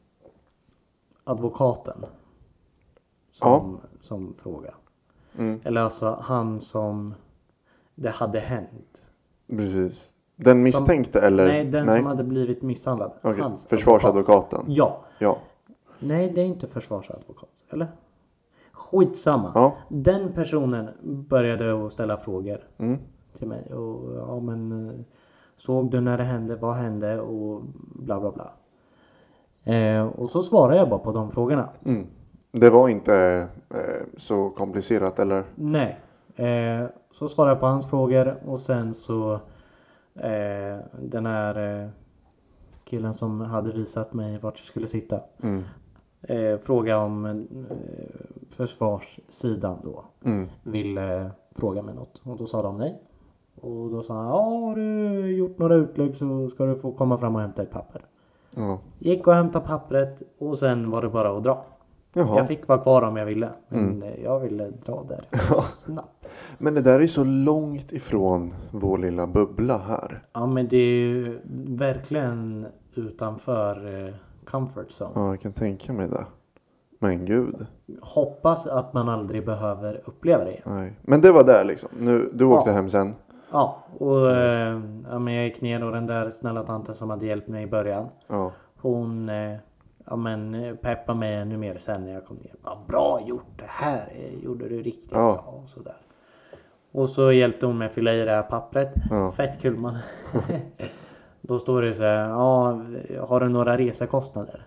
Speaker 1: advokaten som, som fråga.
Speaker 2: Mm.
Speaker 1: Eller alltså han som det hade hänt.
Speaker 2: Precis. Den misstänkte eller?
Speaker 1: Nej, den som hade blivit misshandlad. Hans
Speaker 2: Okej,
Speaker 1: advokat.
Speaker 2: Försvarsadvokaten.
Speaker 1: Ja.
Speaker 2: Ja.
Speaker 1: Nej, det är inte försvarsadvokat. Eller? Skitsamma.
Speaker 2: Ja.
Speaker 1: Den personen började att ställa frågor
Speaker 2: Mm.
Speaker 1: till mig. Och, ja, men, eh, såg du när det hände? Vad hände? Och bla bla bla. Eh, och så svarade jag bara på de frågorna.
Speaker 2: Mm. Det var inte eh, så komplicerat eller?
Speaker 1: Nej. Eh, så svarade jag på hans frågor och sen så eh, den här eh, killen som hade visat mig vart jag skulle sitta.
Speaker 2: Mm.
Speaker 1: Eh, fråga om eh, försvarssidan då.
Speaker 2: Mm.
Speaker 1: ville eh, fråga mig något och då sa de nej. Och då sa han, ja har du gjort några utlägg så ska du få komma fram och hämta ett papper.
Speaker 2: Ja.
Speaker 1: Gick och hämtade pappret och sen var det bara att dra.
Speaker 2: Jaha. Mm.
Speaker 1: Jag fick vara kvar om jag ville. Men eh, jag ville dra där snabbt.
Speaker 2: Men det där är så långt ifrån vår lilla bubbla här.
Speaker 1: Ja men det är ju verkligen utanför eh, comfort zone.
Speaker 2: Ja, jag kan tänka mig det. Men gud.
Speaker 1: Hoppas att man aldrig behöver uppleva det igen.
Speaker 2: Nej. Men det var där liksom. Nu, du åkte
Speaker 1: Ja.
Speaker 2: hem sen.
Speaker 1: Ja och eh, ja, men jag gick ner och den där snälla tanten som hade hjälpt mig i början.
Speaker 2: Ja.
Speaker 1: Hon eh, ja, men, eh, peppade mig ännu mer sen när jag kom ner. Bara, bra gjort! Det här eh, gjorde du riktigt
Speaker 2: Ja.
Speaker 1: bra. Och, sådär. och så hjälpte hon mig att fylla i det här pappret.
Speaker 2: Ja.
Speaker 1: Fett kul man. Då står det så här. Ja, har du några resekostnader?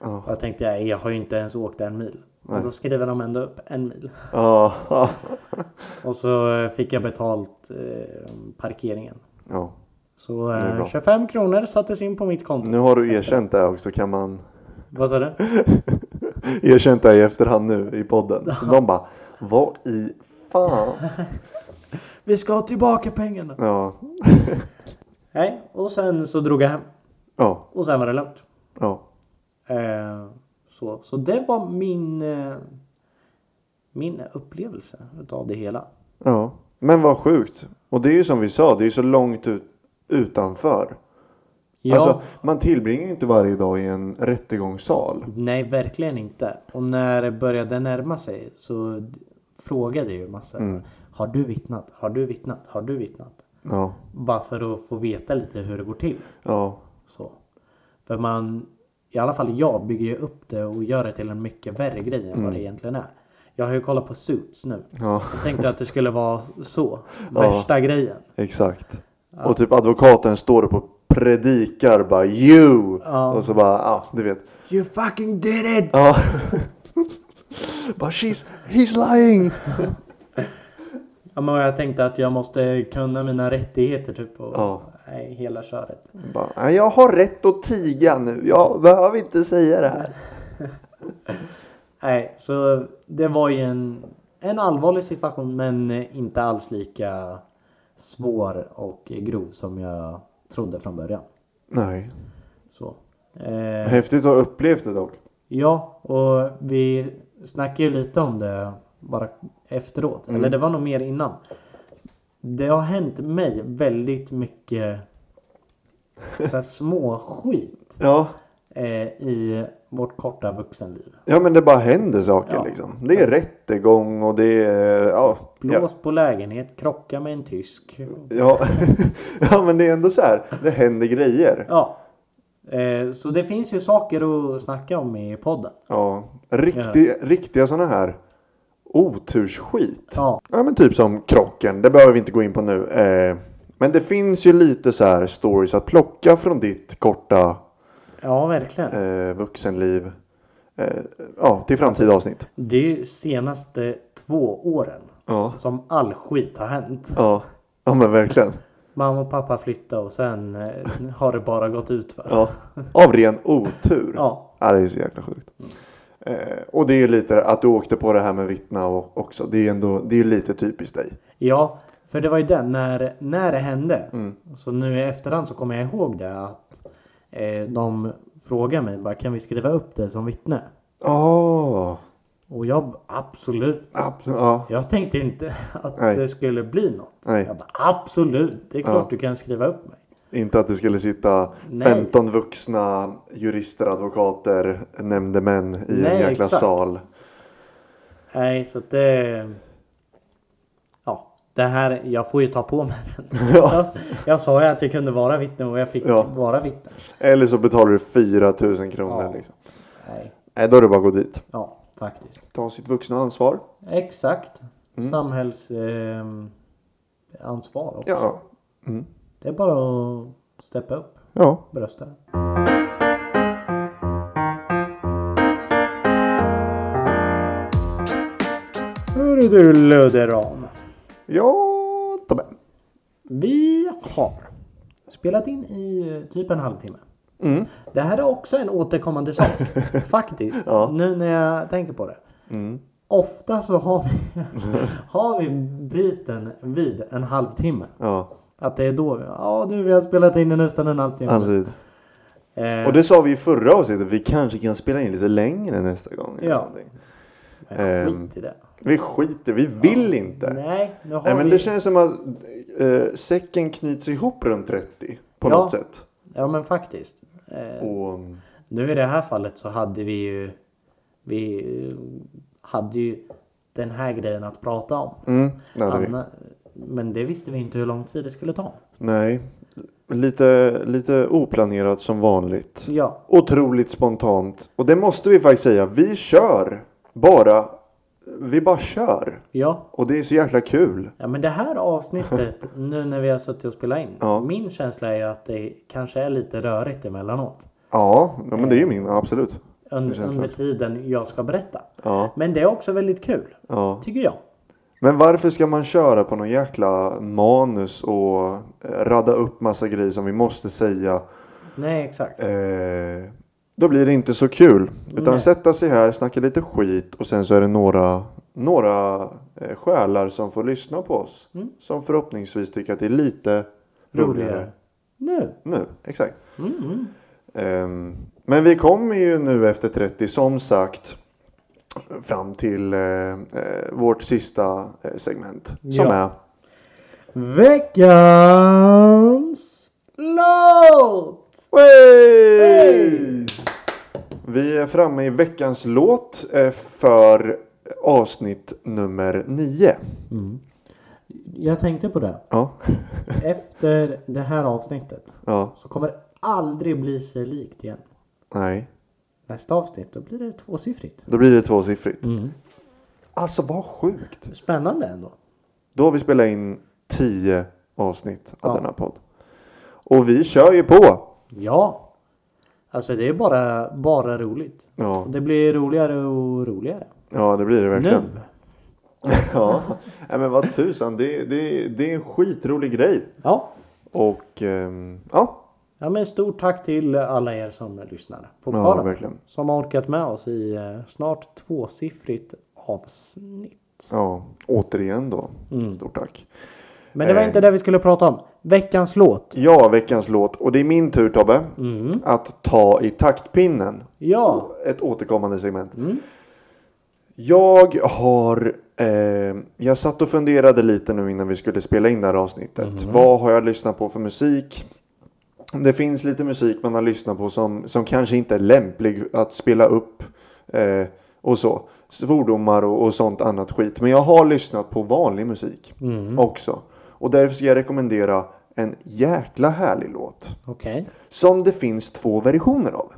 Speaker 2: Ja.
Speaker 1: Och jag tänkte "Nej, jag har ju inte ens åkt en mil. Men då skriver de ändå upp en mil.
Speaker 2: Ja.
Speaker 1: Och så eh, fick jag betalt eh, parkeringen.
Speaker 2: ja.
Speaker 1: Så
Speaker 2: Det är
Speaker 1: eh,
Speaker 2: bra.
Speaker 1: 25 kronor sattes in på mitt konto.
Speaker 2: Nu har du erkänt det också. Kan man
Speaker 1: Vad sa du?
Speaker 2: erkänt det i efterhand nu i podden? De bara, vad i fan?
Speaker 1: Vi ska ha tillbaka pengarna!
Speaker 2: Ja.
Speaker 1: Nej, och sen så drog jag hem.
Speaker 2: Ja.
Speaker 1: Och sen var det lugnt.
Speaker 2: Ja.
Speaker 1: Eh, så, så det var min, eh, min upplevelse utav det hela.
Speaker 2: Ja, men vad sjukt. Och det är ju som vi sa, det är så långt ut, utanför.
Speaker 1: Ja,
Speaker 2: Alltså, man tillbringar ju inte varje dag i en rättegångssal.
Speaker 1: nej verkligen inte. Och när det började närma sig så d- frågade jag ju massor.
Speaker 2: Mm.
Speaker 1: Har du vittnat? Har du vittnat? Har du vittnat?
Speaker 2: Ja,
Speaker 1: Bara för att få veta lite hur det går till.
Speaker 2: ja,
Speaker 1: Så. För man, i alla fall jag, bygger ju upp det och gör det till en mycket värre grej än vad det egentligen är. Jag har ju kollat på Suits nu.
Speaker 2: Mm. ja,
Speaker 1: Jag tänkte att det skulle vara så. Värsta grejen.
Speaker 2: exakt. Och typ advokaten står upp och predikar bara you!
Speaker 1: Ja.
Speaker 2: Och så bara, ja, du vet.
Speaker 1: You fucking did it!
Speaker 2: Ja. bara she's, he's lying!
Speaker 1: Ja, men jag tänkte att jag måste kunna mina rättigheter typ. Och,
Speaker 2: Ja.
Speaker 1: nej, hela köret.
Speaker 2: Bara, "Ja, jag har rätt att tiga nu, jag behöver inte säga det här.
Speaker 1: Nej, så det var ju en, en allvarlig situation men inte alls lika svår och grov som jag trodde från början.
Speaker 2: Nej,
Speaker 1: Så. Eh,
Speaker 2: häftigt att ha upplevt det dock.
Speaker 1: ja, och vi snackade ju lite om det bara efteråt.
Speaker 2: Mm.
Speaker 1: Eller det var nog mer innan. Det har hänt mig väldigt mycket så här små skit.
Speaker 2: Ja.
Speaker 1: eh, i vårt korta vuxenliv.
Speaker 2: Ja men det bara händer saker
Speaker 1: Ja.
Speaker 2: liksom. Det är rättegång och det är... Ja, ja,
Speaker 1: Blås på lägenhet, krocka med en tysk.
Speaker 2: ja. ja men det är ändå så här. Det händer grejer.
Speaker 1: Ja. Eh, så det finns ju saker att snacka om i podden.
Speaker 2: Ja. Riktig, Riktiga sådana här otursskit. Ja.
Speaker 1: Ja,
Speaker 2: men typ som krocken. Det behöver vi inte gå in på nu. Eh, men det finns ju lite så här stories att plocka från ditt korta
Speaker 1: ja verkligen.
Speaker 2: eh, vuxenliv. eh, ja, till framtida avsnitt.
Speaker 1: Det är ju senaste två åren
Speaker 2: Ja.
Speaker 1: som all skit har hänt.
Speaker 2: Ja, ja men verkligen.
Speaker 1: Mamma och pappa flyttade och sen eh, har det bara gått ut för.
Speaker 2: Ja. Av ren otur.
Speaker 1: Ja.
Speaker 2: Ja, det är så jäkla sjukt. Eh, och det är ju lite att du åkte på det här med vittna och också. Det är ju ändå, det är ju lite typiskt dig.
Speaker 1: Ja, för det var ju det när, när det hände.
Speaker 2: Mm.
Speaker 1: Så nu i efterhand så kommer jag ihåg det att eh, de frågar mig bara kan vi skriva upp dig som vittne?
Speaker 2: Oh.
Speaker 1: Och jag b- absolut.
Speaker 2: Absolut. Ja.
Speaker 1: Jag tänkte inte att
Speaker 2: Nej.
Speaker 1: det skulle bli något.
Speaker 2: Nej.
Speaker 1: Jag bara absolut, det är klart du kan skriva upp mig.
Speaker 2: Inte att det skulle sitta
Speaker 1: Nej.
Speaker 2: 15 vuxna jurister, advokater, nämndemän i en
Speaker 1: Nej,
Speaker 2: jäkla
Speaker 1: exakt.
Speaker 2: sal.
Speaker 1: Nej, så att det... Ja, det här, jag får ju ta på mig den.
Speaker 2: Ja.
Speaker 1: Jag, jag sa ju att jag kunde vara vittne och jag fick
Speaker 2: Ja.
Speaker 1: vara vittne.
Speaker 2: Eller så betalar du 4 000 kronor.
Speaker 1: Ja.
Speaker 2: Liksom.
Speaker 1: Nej,
Speaker 2: Nej, då är det bara att gå dit.
Speaker 1: ja, faktiskt.
Speaker 2: Ta sitt vuxna ansvar.
Speaker 1: Exakt. Samhällsansvar också.
Speaker 2: Ja.
Speaker 1: Det är bara att steppa upp
Speaker 2: ja.
Speaker 1: brösten. Hörru du Ludderan.
Speaker 2: Ja, Tobbe.
Speaker 1: Vi har spelat in i eh, typ en halvtimme.
Speaker 2: Mm.
Speaker 1: Det här är också en återkommande sak. faktiskt.
Speaker 2: Ja. Mm.
Speaker 1: Nu när jag tänker på det. Ofta så har vi, har vi bryten vid en halvtimme.
Speaker 2: Ja,
Speaker 1: Att det är då vi, ja du vi har spelat in i nästan en halvtimme.
Speaker 2: alltid.
Speaker 1: Eh,
Speaker 2: Och det sa vi i förra avsnittet, vi kanske kan spela in lite längre nästa gång. eller
Speaker 1: Ja.
Speaker 2: någonting. Eh, Ehm,
Speaker 1: men skit i det.
Speaker 2: Vi skiter, vi vill inte. Nej,
Speaker 1: Nej, nu har
Speaker 2: men
Speaker 1: vi...
Speaker 2: det känns som att eh, säcken knyts ihop runt 30 på
Speaker 1: Ja.
Speaker 2: något sätt.
Speaker 1: Ja men faktiskt. Eh,
Speaker 2: Och,
Speaker 1: Nu i det här fallet så hade vi ju... Vi eh, hade ju den här grejen att prata om.
Speaker 2: mm, det hade vi.
Speaker 1: Anna, men det visste vi inte hur lång tid det skulle ta.
Speaker 2: Nej, lite, lite oplanerat som vanligt.
Speaker 1: Ja,
Speaker 2: Otroligt spontant. Och det måste vi faktiskt säga, vi kör bara. Vi bara kör.
Speaker 1: ja.
Speaker 2: Och det är så jäkla kul.
Speaker 1: Ja men det här avsnittet nu när vi har suttit och spelat in.
Speaker 2: Ja.
Speaker 1: Min känsla är ju att det kanske är lite rörigt emellanåt.
Speaker 2: Ja, ja, men det är ju min, ja, absolut.
Speaker 1: Under,
Speaker 2: känns
Speaker 1: under
Speaker 2: faktiskt.
Speaker 1: tiden jag ska berätta.
Speaker 2: Ja,
Speaker 1: Men det är också väldigt kul.
Speaker 2: ja.
Speaker 1: Tycker jag.
Speaker 2: Men varför ska man köra på någon jäkla manus och eh, radda upp massa grejer som vi måste säga?
Speaker 1: Nej exakt.
Speaker 2: Eh, då blir det inte så kul. Utan
Speaker 1: Nej.
Speaker 2: sätta sig här, snacka lite skit och sen så är det några, några eh, själar som får lyssna på oss.
Speaker 1: Mm.
Speaker 2: Som förhoppningsvis tycker att det är lite roligare,
Speaker 1: Roligare. Mm, Nu.
Speaker 2: nu. Exakt. Ehm, men vi kommer ju nu efter 30 som sagt fram till eh, eh, vårt sista eh, segment. Som
Speaker 1: Ja.
Speaker 2: är
Speaker 1: Veckans låt!
Speaker 2: Wey! Vi är framme i veckans låt eh, för avsnitt nummer nio.
Speaker 1: Jag tänkte på det.
Speaker 2: Ja,
Speaker 1: Efter det här avsnittet
Speaker 2: ja,
Speaker 1: så kommer det aldrig bli sig likt igen.
Speaker 2: nej.
Speaker 1: Nästa avsnitt då blir det tvåsiffrigt.
Speaker 2: Då blir det tvåsiffrigt. Alltså vad sjukt.
Speaker 1: Spännande ändå.
Speaker 2: Då har vi spelat in tio avsnitt av denna podd. Och vi kör ju på.
Speaker 1: Ja. Alltså det är bara, bara roligt.
Speaker 2: Ja,
Speaker 1: Och Det blir roligare och roligare.
Speaker 2: ja det blir det verkligen.
Speaker 1: Nu!
Speaker 2: Ja, nej, men vad tusan. Det, det, det är en skitrolig grej.
Speaker 1: Ja.
Speaker 2: Och ehm, ja,
Speaker 1: ja men stort tack till alla er som lyssnar.
Speaker 2: ja
Speaker 1: Fortfarande.
Speaker 2: verkligen.
Speaker 1: som har orkat med oss i eh, snart tvåsiffrigt avsnitt.
Speaker 2: Ja, återigen då. Stort tack.
Speaker 1: Men det var
Speaker 2: Eh.
Speaker 1: inte det vi skulle prata om. Veckans låt.
Speaker 2: Ja, veckans låt. Och det är min tur Tobbe. Att ta i taktpinnen.
Speaker 1: Ja.
Speaker 2: Ett återkommande segment. Jag har... Eh, jag satt och funderade lite nu innan vi skulle spela in det här avsnittet. Vad har jag lyssnat på för musik? Det finns lite musik man har lyssnat på som, som kanske inte är lämplig att spela upp. Eh, och så. Svordomar och, och sånt annat skit. Men jag har lyssnat på vanlig musik också. Och därför ska jag rekommendera en jäkla härlig låt.
Speaker 1: Okej.
Speaker 2: Som det finns två versioner av.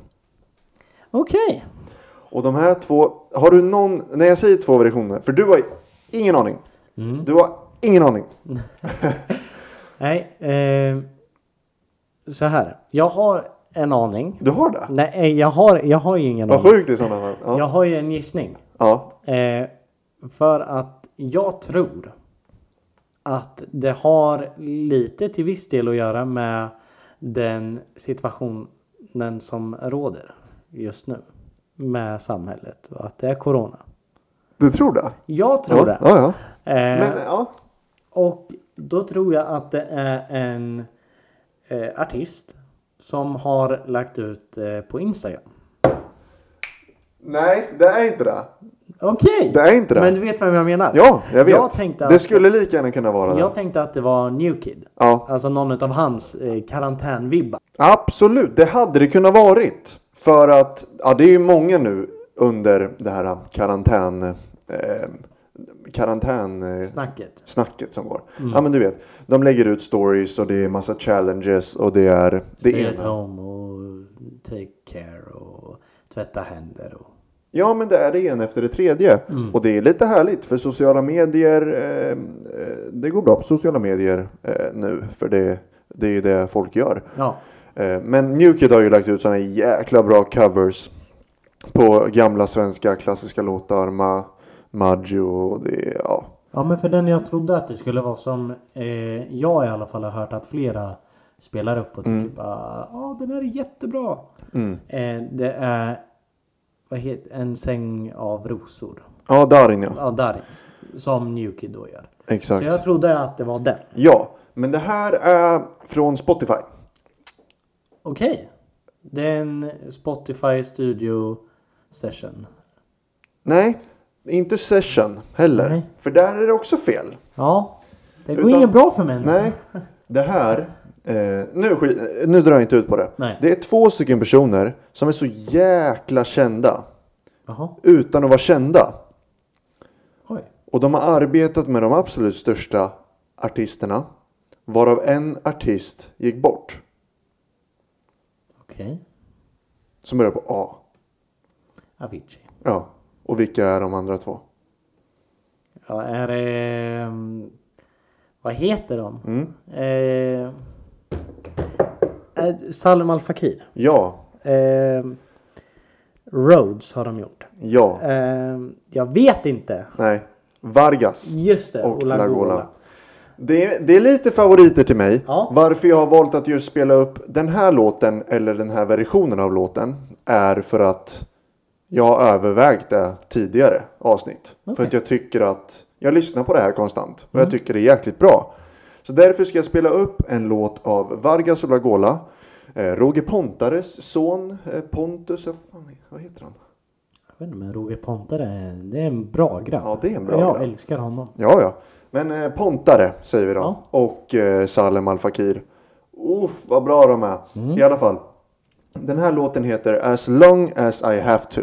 Speaker 1: Okej.
Speaker 2: Och de här två, har du någon, när jag säger två versioner, för du har ingen aning.
Speaker 1: Mm.
Speaker 2: Du har ingen aning.
Speaker 1: Nej. Eh, så här. Jag har en aning.
Speaker 2: Du har det?
Speaker 1: Nej, eh, jag har, jag har ju ingen
Speaker 2: Vad
Speaker 1: aning.
Speaker 2: sjukt i sådana fall. Ja.
Speaker 1: Jag har ju en gissning.
Speaker 2: ja.
Speaker 1: Eh, för att jag tror att det har lite till viss del att göra med den situationen som råder just nu med samhället och att det är corona.
Speaker 2: Du tror det?
Speaker 1: Jag tror
Speaker 2: ja.
Speaker 1: det.
Speaker 2: Ja, ja.
Speaker 1: Eh,
Speaker 2: Men ja.
Speaker 1: Och då tror jag att det är en eh, artist som har lagt ut eh, på Instagram.
Speaker 2: Nej, det är inte det.
Speaker 1: Okej!
Speaker 2: Det är inte det.
Speaker 1: Men du vet vem jag menar?
Speaker 2: Ja, jag vet.
Speaker 1: Jag tänkte att,
Speaker 2: Det skulle lika gärna kunna vara det.
Speaker 1: jag tänkte att det var New Kid.
Speaker 2: Ja.
Speaker 1: Alltså någon av hans eh, karantänvibbar.
Speaker 2: Absolut, det hade det kunnat varit. För att, ja det är ju många nu under det här karantän... Eh, karantän... Eh,
Speaker 1: Snacket.
Speaker 2: snacket som går.
Speaker 1: Mm.
Speaker 2: Ja men du vet, de lägger ut stories och det är massa challenges och det är... Det
Speaker 1: Stay at
Speaker 2: ena.
Speaker 1: home och take care och tvätta händer och...
Speaker 2: Ja men det är det ena efter det tredje.
Speaker 1: Mm.
Speaker 2: Och det är lite härligt för sociala medier, eh, eh, det går bra på sociala medier eh, nu. För det, det är ju det folk gör.
Speaker 1: Ja.
Speaker 2: Eh, Men Newkid har ju lagt ut såna jäkla bra covers på gamla svenska klassiska låtar. Ma, Maggio och det är- ja.
Speaker 1: Ja men för den jag trodde att det skulle vara som eh, jag i alla fall har hört att flera spelar upp och
Speaker 2: Mm.
Speaker 1: tycker bara Ja den här är jättebra. Eh, det är vad heter, En säng av rosor.
Speaker 2: Ja, Darin ja.
Speaker 1: Ja Darins. Som Newkid då gör.
Speaker 2: Exakt.
Speaker 1: Så jag trodde att det var den.
Speaker 2: Ja, men det här är från Spotify.
Speaker 1: Okej. Det är en Spotify Studio Session.
Speaker 2: Nej, inte Session heller.
Speaker 1: Nej.
Speaker 2: För där är det också fel.
Speaker 1: Ja. Det går
Speaker 2: Utan-
Speaker 1: inget bra för mig nu.
Speaker 2: Nej, det här... Eh, nu, skit- nu drar jag inte ut på det.
Speaker 1: Nej.
Speaker 2: Det är två stycken personer som är så jäkla kända.
Speaker 1: Jaha.
Speaker 2: Utan att vara kända.
Speaker 1: Oj.
Speaker 2: Och de har arbetat med de absolut största artisterna. Varav en artist gick bort.
Speaker 1: Okej.
Speaker 2: Som börjar på A.
Speaker 1: Avicii.
Speaker 2: Ja. Och vilka är de andra två?
Speaker 1: Ja, är det... ehm, Vad heter de?
Speaker 2: Mm.
Speaker 1: Eh, eh, Salem Al Fakir.
Speaker 2: Ja.
Speaker 1: Eh, Rhodes har de gjort.
Speaker 2: Ja.
Speaker 1: Eh, jag vet inte.
Speaker 2: Nej. Vargas.
Speaker 1: Just det,
Speaker 2: Och
Speaker 1: Ola
Speaker 2: Lagola.
Speaker 1: Gola.
Speaker 2: Det är, det är lite favoriter till mig.
Speaker 1: Ja.
Speaker 2: Varför jag har valt att just spela upp den här låten eller den här versionen av låten är för att jag har övervägt det tidigare avsnitt. För
Speaker 1: Okej. Mm.
Speaker 2: att jag tycker att jag lyssnar på det här konstant och jag tycker det är jäkligt bra. Så därför ska jag spela upp en låt av Vargas Olagola, eh, Roger Pontares son eh, Pontus, vad fan, vad heter han?
Speaker 1: Jag vet inte, men Roger Pontare, är- det är en bra grabb.
Speaker 2: Ja, det är en bra
Speaker 1: Jag
Speaker 2: grabb.
Speaker 1: älskar honom.
Speaker 2: Ja, ja. Men eh, Pontare säger vi då.
Speaker 1: Ja.
Speaker 2: Och eh, Salem Al Fakir. Uff, vad bra de är. I alla fall. Den här låten heter As long as I have to.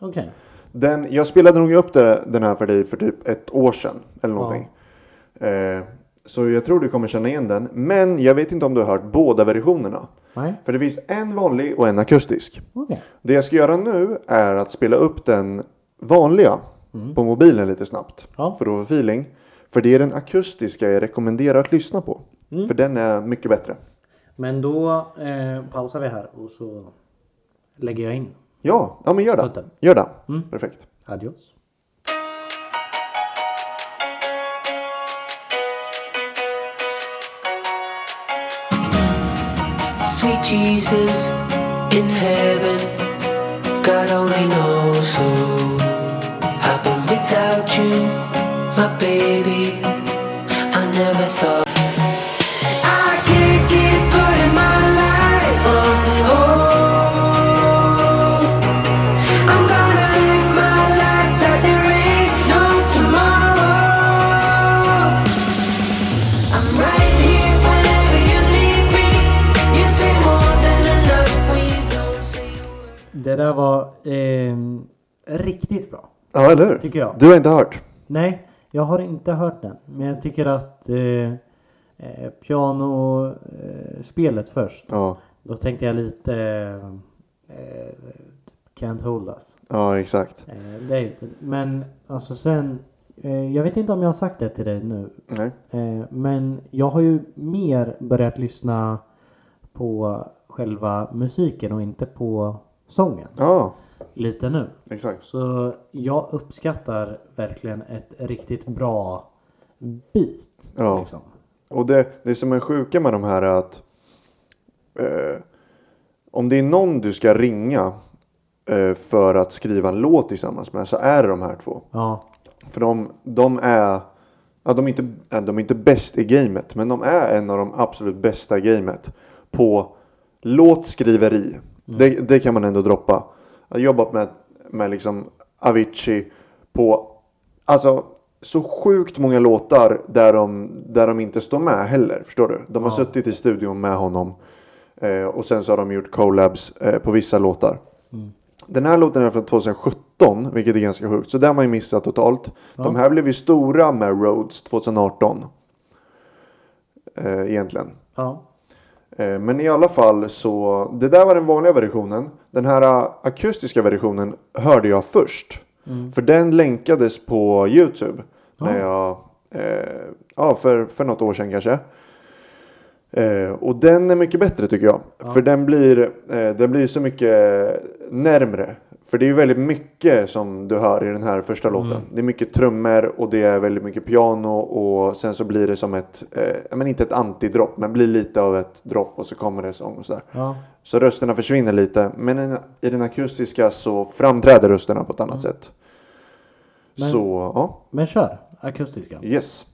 Speaker 1: Okej.
Speaker 2: Den, jag spelade nog upp det, den här för dig för typ ett år sedan. Eller någonting. Eh, så jag tror du kommer känna igen den. Men jag vet inte om du har hört båda versionerna.
Speaker 1: Nej,
Speaker 2: För det finns en vanlig och en akustisk.
Speaker 1: okej.
Speaker 2: Det jag ska göra nu är att spela upp den vanliga på mobilen lite snabbt.
Speaker 1: Mm. Ja.
Speaker 2: För att få feeling. För det är den akustiska jag rekommenderar att lyssna på.
Speaker 1: Mm.
Speaker 2: För den är mycket bättre.
Speaker 1: Men då eh, pausar vi här och så lägger jag in.
Speaker 2: Ja, ja men gör det.
Speaker 1: Stöten.
Speaker 2: Gör det.
Speaker 1: Mm.
Speaker 2: Perfekt.
Speaker 1: Adios.
Speaker 3: Sweet Jesus in heaven, God only knows who. I've been without you, my baby. I never thought. I can't keep putting my life on hold. I'm gonna live my life like there ain't no tomorrow. I'm right here whenever you need me. You say more than enough when you don't say a word.
Speaker 1: Det där var ehm, riktigt bra.
Speaker 2: Ja, eller hur?
Speaker 1: Tycker jag.
Speaker 2: Du har inte hört?
Speaker 1: Nej, jag har inte hört den. Men jag tycker att eh, eh, pianospelet eh, spelet först.
Speaker 2: Ja,
Speaker 1: Då tänkte jag lite eh, eh, typ Can't Hold Us.
Speaker 2: ja exakt.
Speaker 1: Eh, det är, ju- men alltså sen, eh, jag vet inte om jag har sagt det till dig nu.
Speaker 2: Nej.
Speaker 1: Eh, men jag har ju mer börjat lyssna på själva musiken och inte på sången.
Speaker 2: Ja,
Speaker 1: Lite nu.
Speaker 2: exakt.
Speaker 1: Så jag uppskattar verkligen ett riktigt bra beat.
Speaker 2: Ja.
Speaker 1: Liksom.
Speaker 2: Och det, det som är sjuka med de här är att eh, om det är någon du ska ringa eh, för att skriva en låt tillsammans med så är det de här två.
Speaker 1: ja.
Speaker 2: För de, de är... Ja, de, är inte, ja, de är inte bäst i gamet, men de är en av de absolut bästa i gamet på låtskriveri. Det, det kan man ändå droppa. Jag har jobbat med, med liksom Avicii på alltså, så sjukt många låtar där de, där de inte står med heller. Förstår du? De har suttit i studion med honom eh, och sen så har de gjort collabs eh, på vissa låtar. Den här låten är från 2017, vilket är ganska sjukt. Så den har man ju missat totalt. De här blev ju stora med Rhodes 2018. Eh, egentligen.
Speaker 1: Ja.
Speaker 2: Eh, men i alla fall så, det där var den vanliga versionen. Den här eh, akustiska versionen hörde jag först. För den länkades på YouTube. När jag, eh, ja, för, för något år sedan kanske. Eh, och den är mycket bättre tycker jag. För den blir, eh, den blir så mycket närmre. För det är ju väldigt mycket som du hör i den här första låten. Det är mycket trummor och det är väldigt mycket piano. Och sen så blir det som ett, eh, ja, men inte ett antidropp, men blir lite av ett dropp och så kommer det sång och sådär.
Speaker 1: Ja.
Speaker 2: Så rösterna försvinner lite. Men i den- i den akustiska så framträder rösterna på ett annat sätt. Så, ja.
Speaker 1: Men kör akustiska.
Speaker 2: Yes.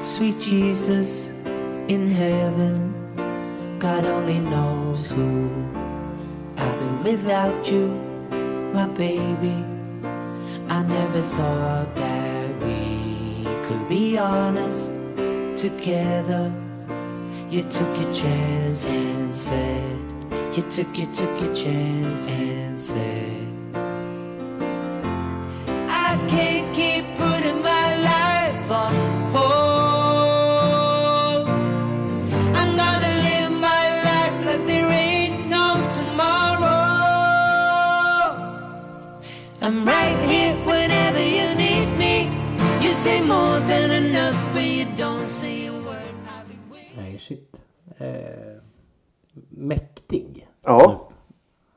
Speaker 3: Sweet Jesus in heaven, God only knows who. I've been without you, my baby. I never thought that we could be honest together. You took your chance and said, You took, you took your chance and said, I can't keep putting my life on hold. I'm gonna live my life like there ain't no tomorrow. I'm right here whenever you need me. You say more than enough, but you don't say a word. I'll be waiting.
Speaker 1: Nej, shit. Eh, mäktig.
Speaker 2: Ja.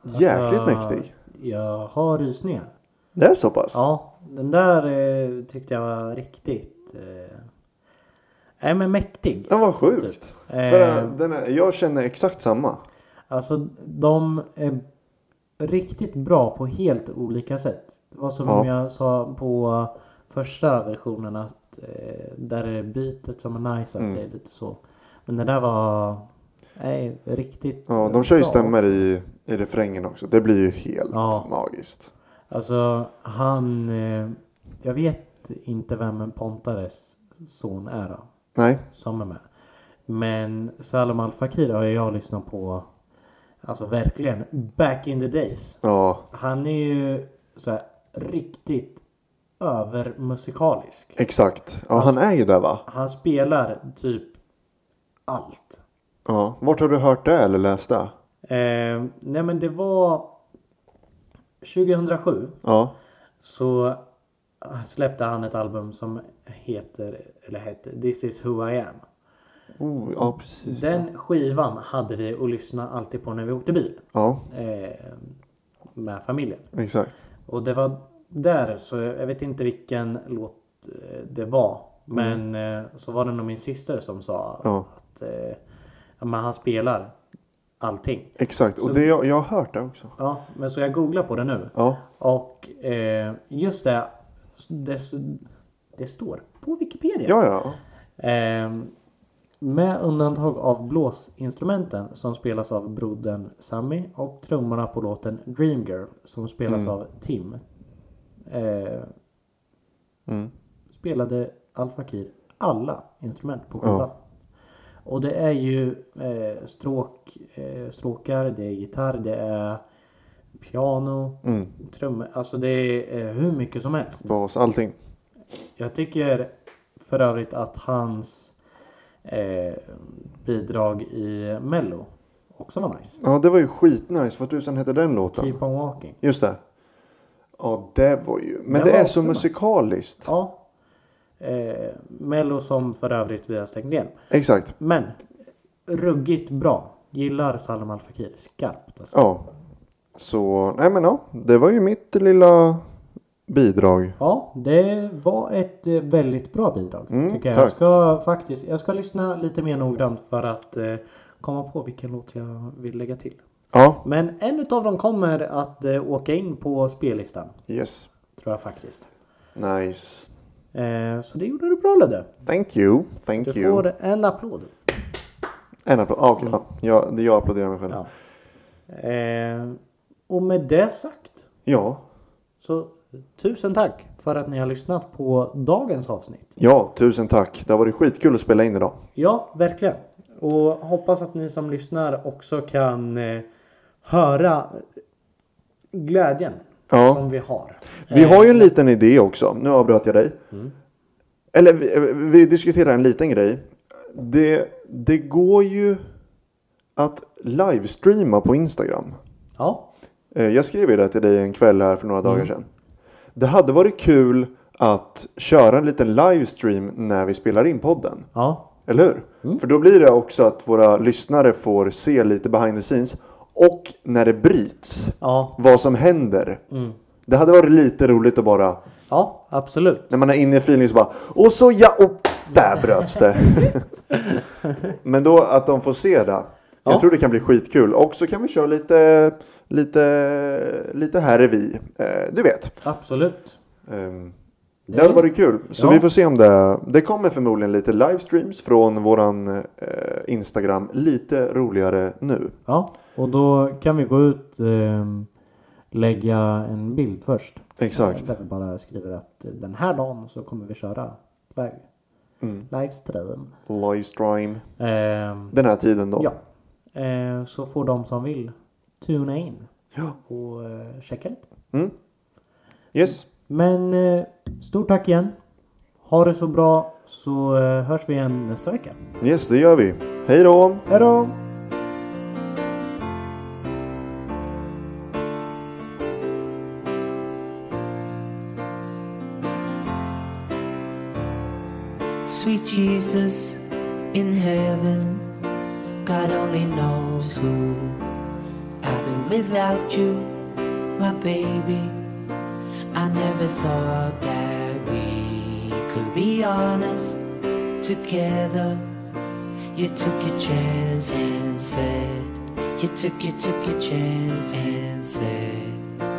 Speaker 2: Jäkligt
Speaker 1: Ja,
Speaker 2: mäktig.
Speaker 1: Jag har rysningar.
Speaker 2: Det är så pass?
Speaker 1: Alltså, Ja, den där eh, tyckte jag var riktigt... Eh, nej, men mäktig.
Speaker 2: Den var sjukt.
Speaker 1: Typ.
Speaker 2: För
Speaker 1: Eh.
Speaker 2: den är, jag känner exakt samma.
Speaker 1: Alltså, de är riktigt bra på helt olika sätt. Det var som
Speaker 2: Ja.
Speaker 1: jag sa på första versionen att eh, där är bitet som är nice, att
Speaker 2: Mm.
Speaker 1: det är lite så. Men den där var... Nej, riktigt
Speaker 2: Ja, de kör ju
Speaker 1: bra.
Speaker 2: stämmer i, i refrängen också. Det blir ju helt
Speaker 1: Ja.
Speaker 2: magiskt.
Speaker 1: Alltså han... Eh, jag vet inte vem Pontares son är då,
Speaker 2: Nej,
Speaker 1: som är med. Men Salom Al Fakir har ju jag lyssnat på. Alltså verkligen back in the days.
Speaker 2: ja
Speaker 1: Han är ju så här riktigt övermusikalisk.
Speaker 2: exakt. Ja,
Speaker 1: Alltså-
Speaker 2: han är ju där va?
Speaker 1: Han spelar typ allt.
Speaker 2: Ja. Vart har du hört det eller läst det?
Speaker 1: Eh, nej men det var 2007
Speaker 2: Ja,
Speaker 1: så släppte han ett album som heter, eller hette This is who I am.
Speaker 2: oh, ja precis.
Speaker 1: Den skivan hade vi och lyssnade alltid på när vi åkte bil
Speaker 2: Ja,
Speaker 1: eh, med familjen.
Speaker 2: exakt.
Speaker 1: Och det var där, så jag vet inte vilken låt eh, det var. Men eh, så var det nog min syster som sa
Speaker 2: Mm. Ja.
Speaker 1: att eh, ja, men han spelar allting.
Speaker 2: Exakt, och det, jag, jag har hört det också.
Speaker 1: Ja, men så jag googlar på det nu.
Speaker 2: Ja,
Speaker 1: Och eh, just det, det, det står på Wikipedia.
Speaker 2: ja, ja.
Speaker 1: Ehm, med undantag av blåsinstrumenten som spelas av brodern Sammy och trummorna på låten Dream Girl som spelas av Tim. Eh,
Speaker 2: Mm.
Speaker 1: spelade Al Fakir alla instrument på skivan. Och det är ju eh, stråk, eh, stråkar, det är gitarr, det är piano,
Speaker 2: Mm.
Speaker 1: trummor. Alltså det är eh, hur mycket som helst.
Speaker 2: Bas, allting.
Speaker 1: Jag tycker för övrigt att hans eh, bidrag i Mello Också var nice.
Speaker 2: Ja, det var ju skitnice. Vad tusan hette den låten?
Speaker 1: Keep on walking.
Speaker 2: Just det. Ja, det var ju... Men
Speaker 1: Den
Speaker 2: det
Speaker 1: var
Speaker 2: är
Speaker 1: också
Speaker 2: så
Speaker 1: nice.
Speaker 2: musikaliskt.
Speaker 1: Ja. Eh, Mello som för övrigt vi har stängt igen.
Speaker 2: Exakt.
Speaker 1: Men ruggigt bra. Gillar Salem Al Fakir skarpt. Alltså.
Speaker 2: Ja. Så, nej men ja. Det var ju mitt lilla bidrag.
Speaker 1: Ja, det var ett eh, väldigt bra bidrag.
Speaker 2: Mm,
Speaker 1: tycker jag.
Speaker 2: tack.
Speaker 1: jag ska faktiskt jag ska lyssna lite mer noggrant för att eh, komma på vilken låt jag vill lägga till.
Speaker 2: Ja.
Speaker 1: Men en utav dem kommer att eh, åka in på spellistan.
Speaker 2: Yes.
Speaker 1: Tror jag faktiskt.
Speaker 2: Nice.
Speaker 1: Eh, så det gjorde du bra Ludde.
Speaker 2: Thank you. Thank
Speaker 1: Du
Speaker 2: you.
Speaker 1: får en applåd.
Speaker 2: En applåd. Ah, okej. ja. jag, jag applåderar mig själv. Ja.
Speaker 1: Ja. Eh, och med det sagt
Speaker 2: ja.
Speaker 1: så tusen tack för att ni har lyssnat på dagens avsnitt.
Speaker 2: tusen tack. Det har varit skitkul att spela in idag.
Speaker 1: Ja, verkligen. Och hoppas att ni som lyssnar också kan eh, höra glädjen
Speaker 2: Ja.
Speaker 1: som vi har. Eh,
Speaker 2: Vi har ju en liten idé också. Nu avbröt jag dig. Eller vi, vi diskuterar en liten grej. Det, det går ju att livestreama på Instagram.
Speaker 1: Ja,
Speaker 2: Eh, Jag skrev ju det till dig en kväll här för några dagar sedan. Det hade varit kul att köra en liten livestream när vi spelar in podden.
Speaker 1: ja,
Speaker 2: Eller hur? För då blir det också att våra lyssnare får se lite behind the scenes. Och när det bryts,
Speaker 1: ja,
Speaker 2: vad som händer. Det hade varit lite roligt att bara
Speaker 1: ja, absolut.
Speaker 2: när man är inne i feeling så bara Och så ja, och där bröts det. Men då att de får se det. Jag
Speaker 1: Ja.
Speaker 2: tror det kan bli skitkul. Och så kan vi köra lite, lite, lite här är vi. Eh, du vet.
Speaker 1: Absolut.
Speaker 2: Ehm, det hade varit kul. Så
Speaker 1: Ja.
Speaker 2: vi får se om det. Det kommer förmodligen lite livestreams från våran eh, Instagram. Lite roligare nu.
Speaker 1: Ja, och då kan vi gå ut ehm, lägga en bild först.
Speaker 2: Exakt.
Speaker 1: Där vi bara skriver att eh, den här dagen så kommer vi köra live. Livestream.
Speaker 2: Livestream.
Speaker 1: Ehm,
Speaker 2: Den här tiden då.
Speaker 1: ja. Eh, så får de som vill tuna in
Speaker 2: Ja.
Speaker 1: och eh, checka lite.
Speaker 2: Yes.
Speaker 1: Men eh, stort tack igen. Ha det så bra så eh, hörs vi igen nästa vecka.
Speaker 2: Yes, det gör vi. Hej då!
Speaker 1: Hej då!
Speaker 3: Sweet Jesus in heaven, God only knows who I've been without you, my baby. I never thought that we could be honest together. You took your chance and said, You took, you took your chance and said,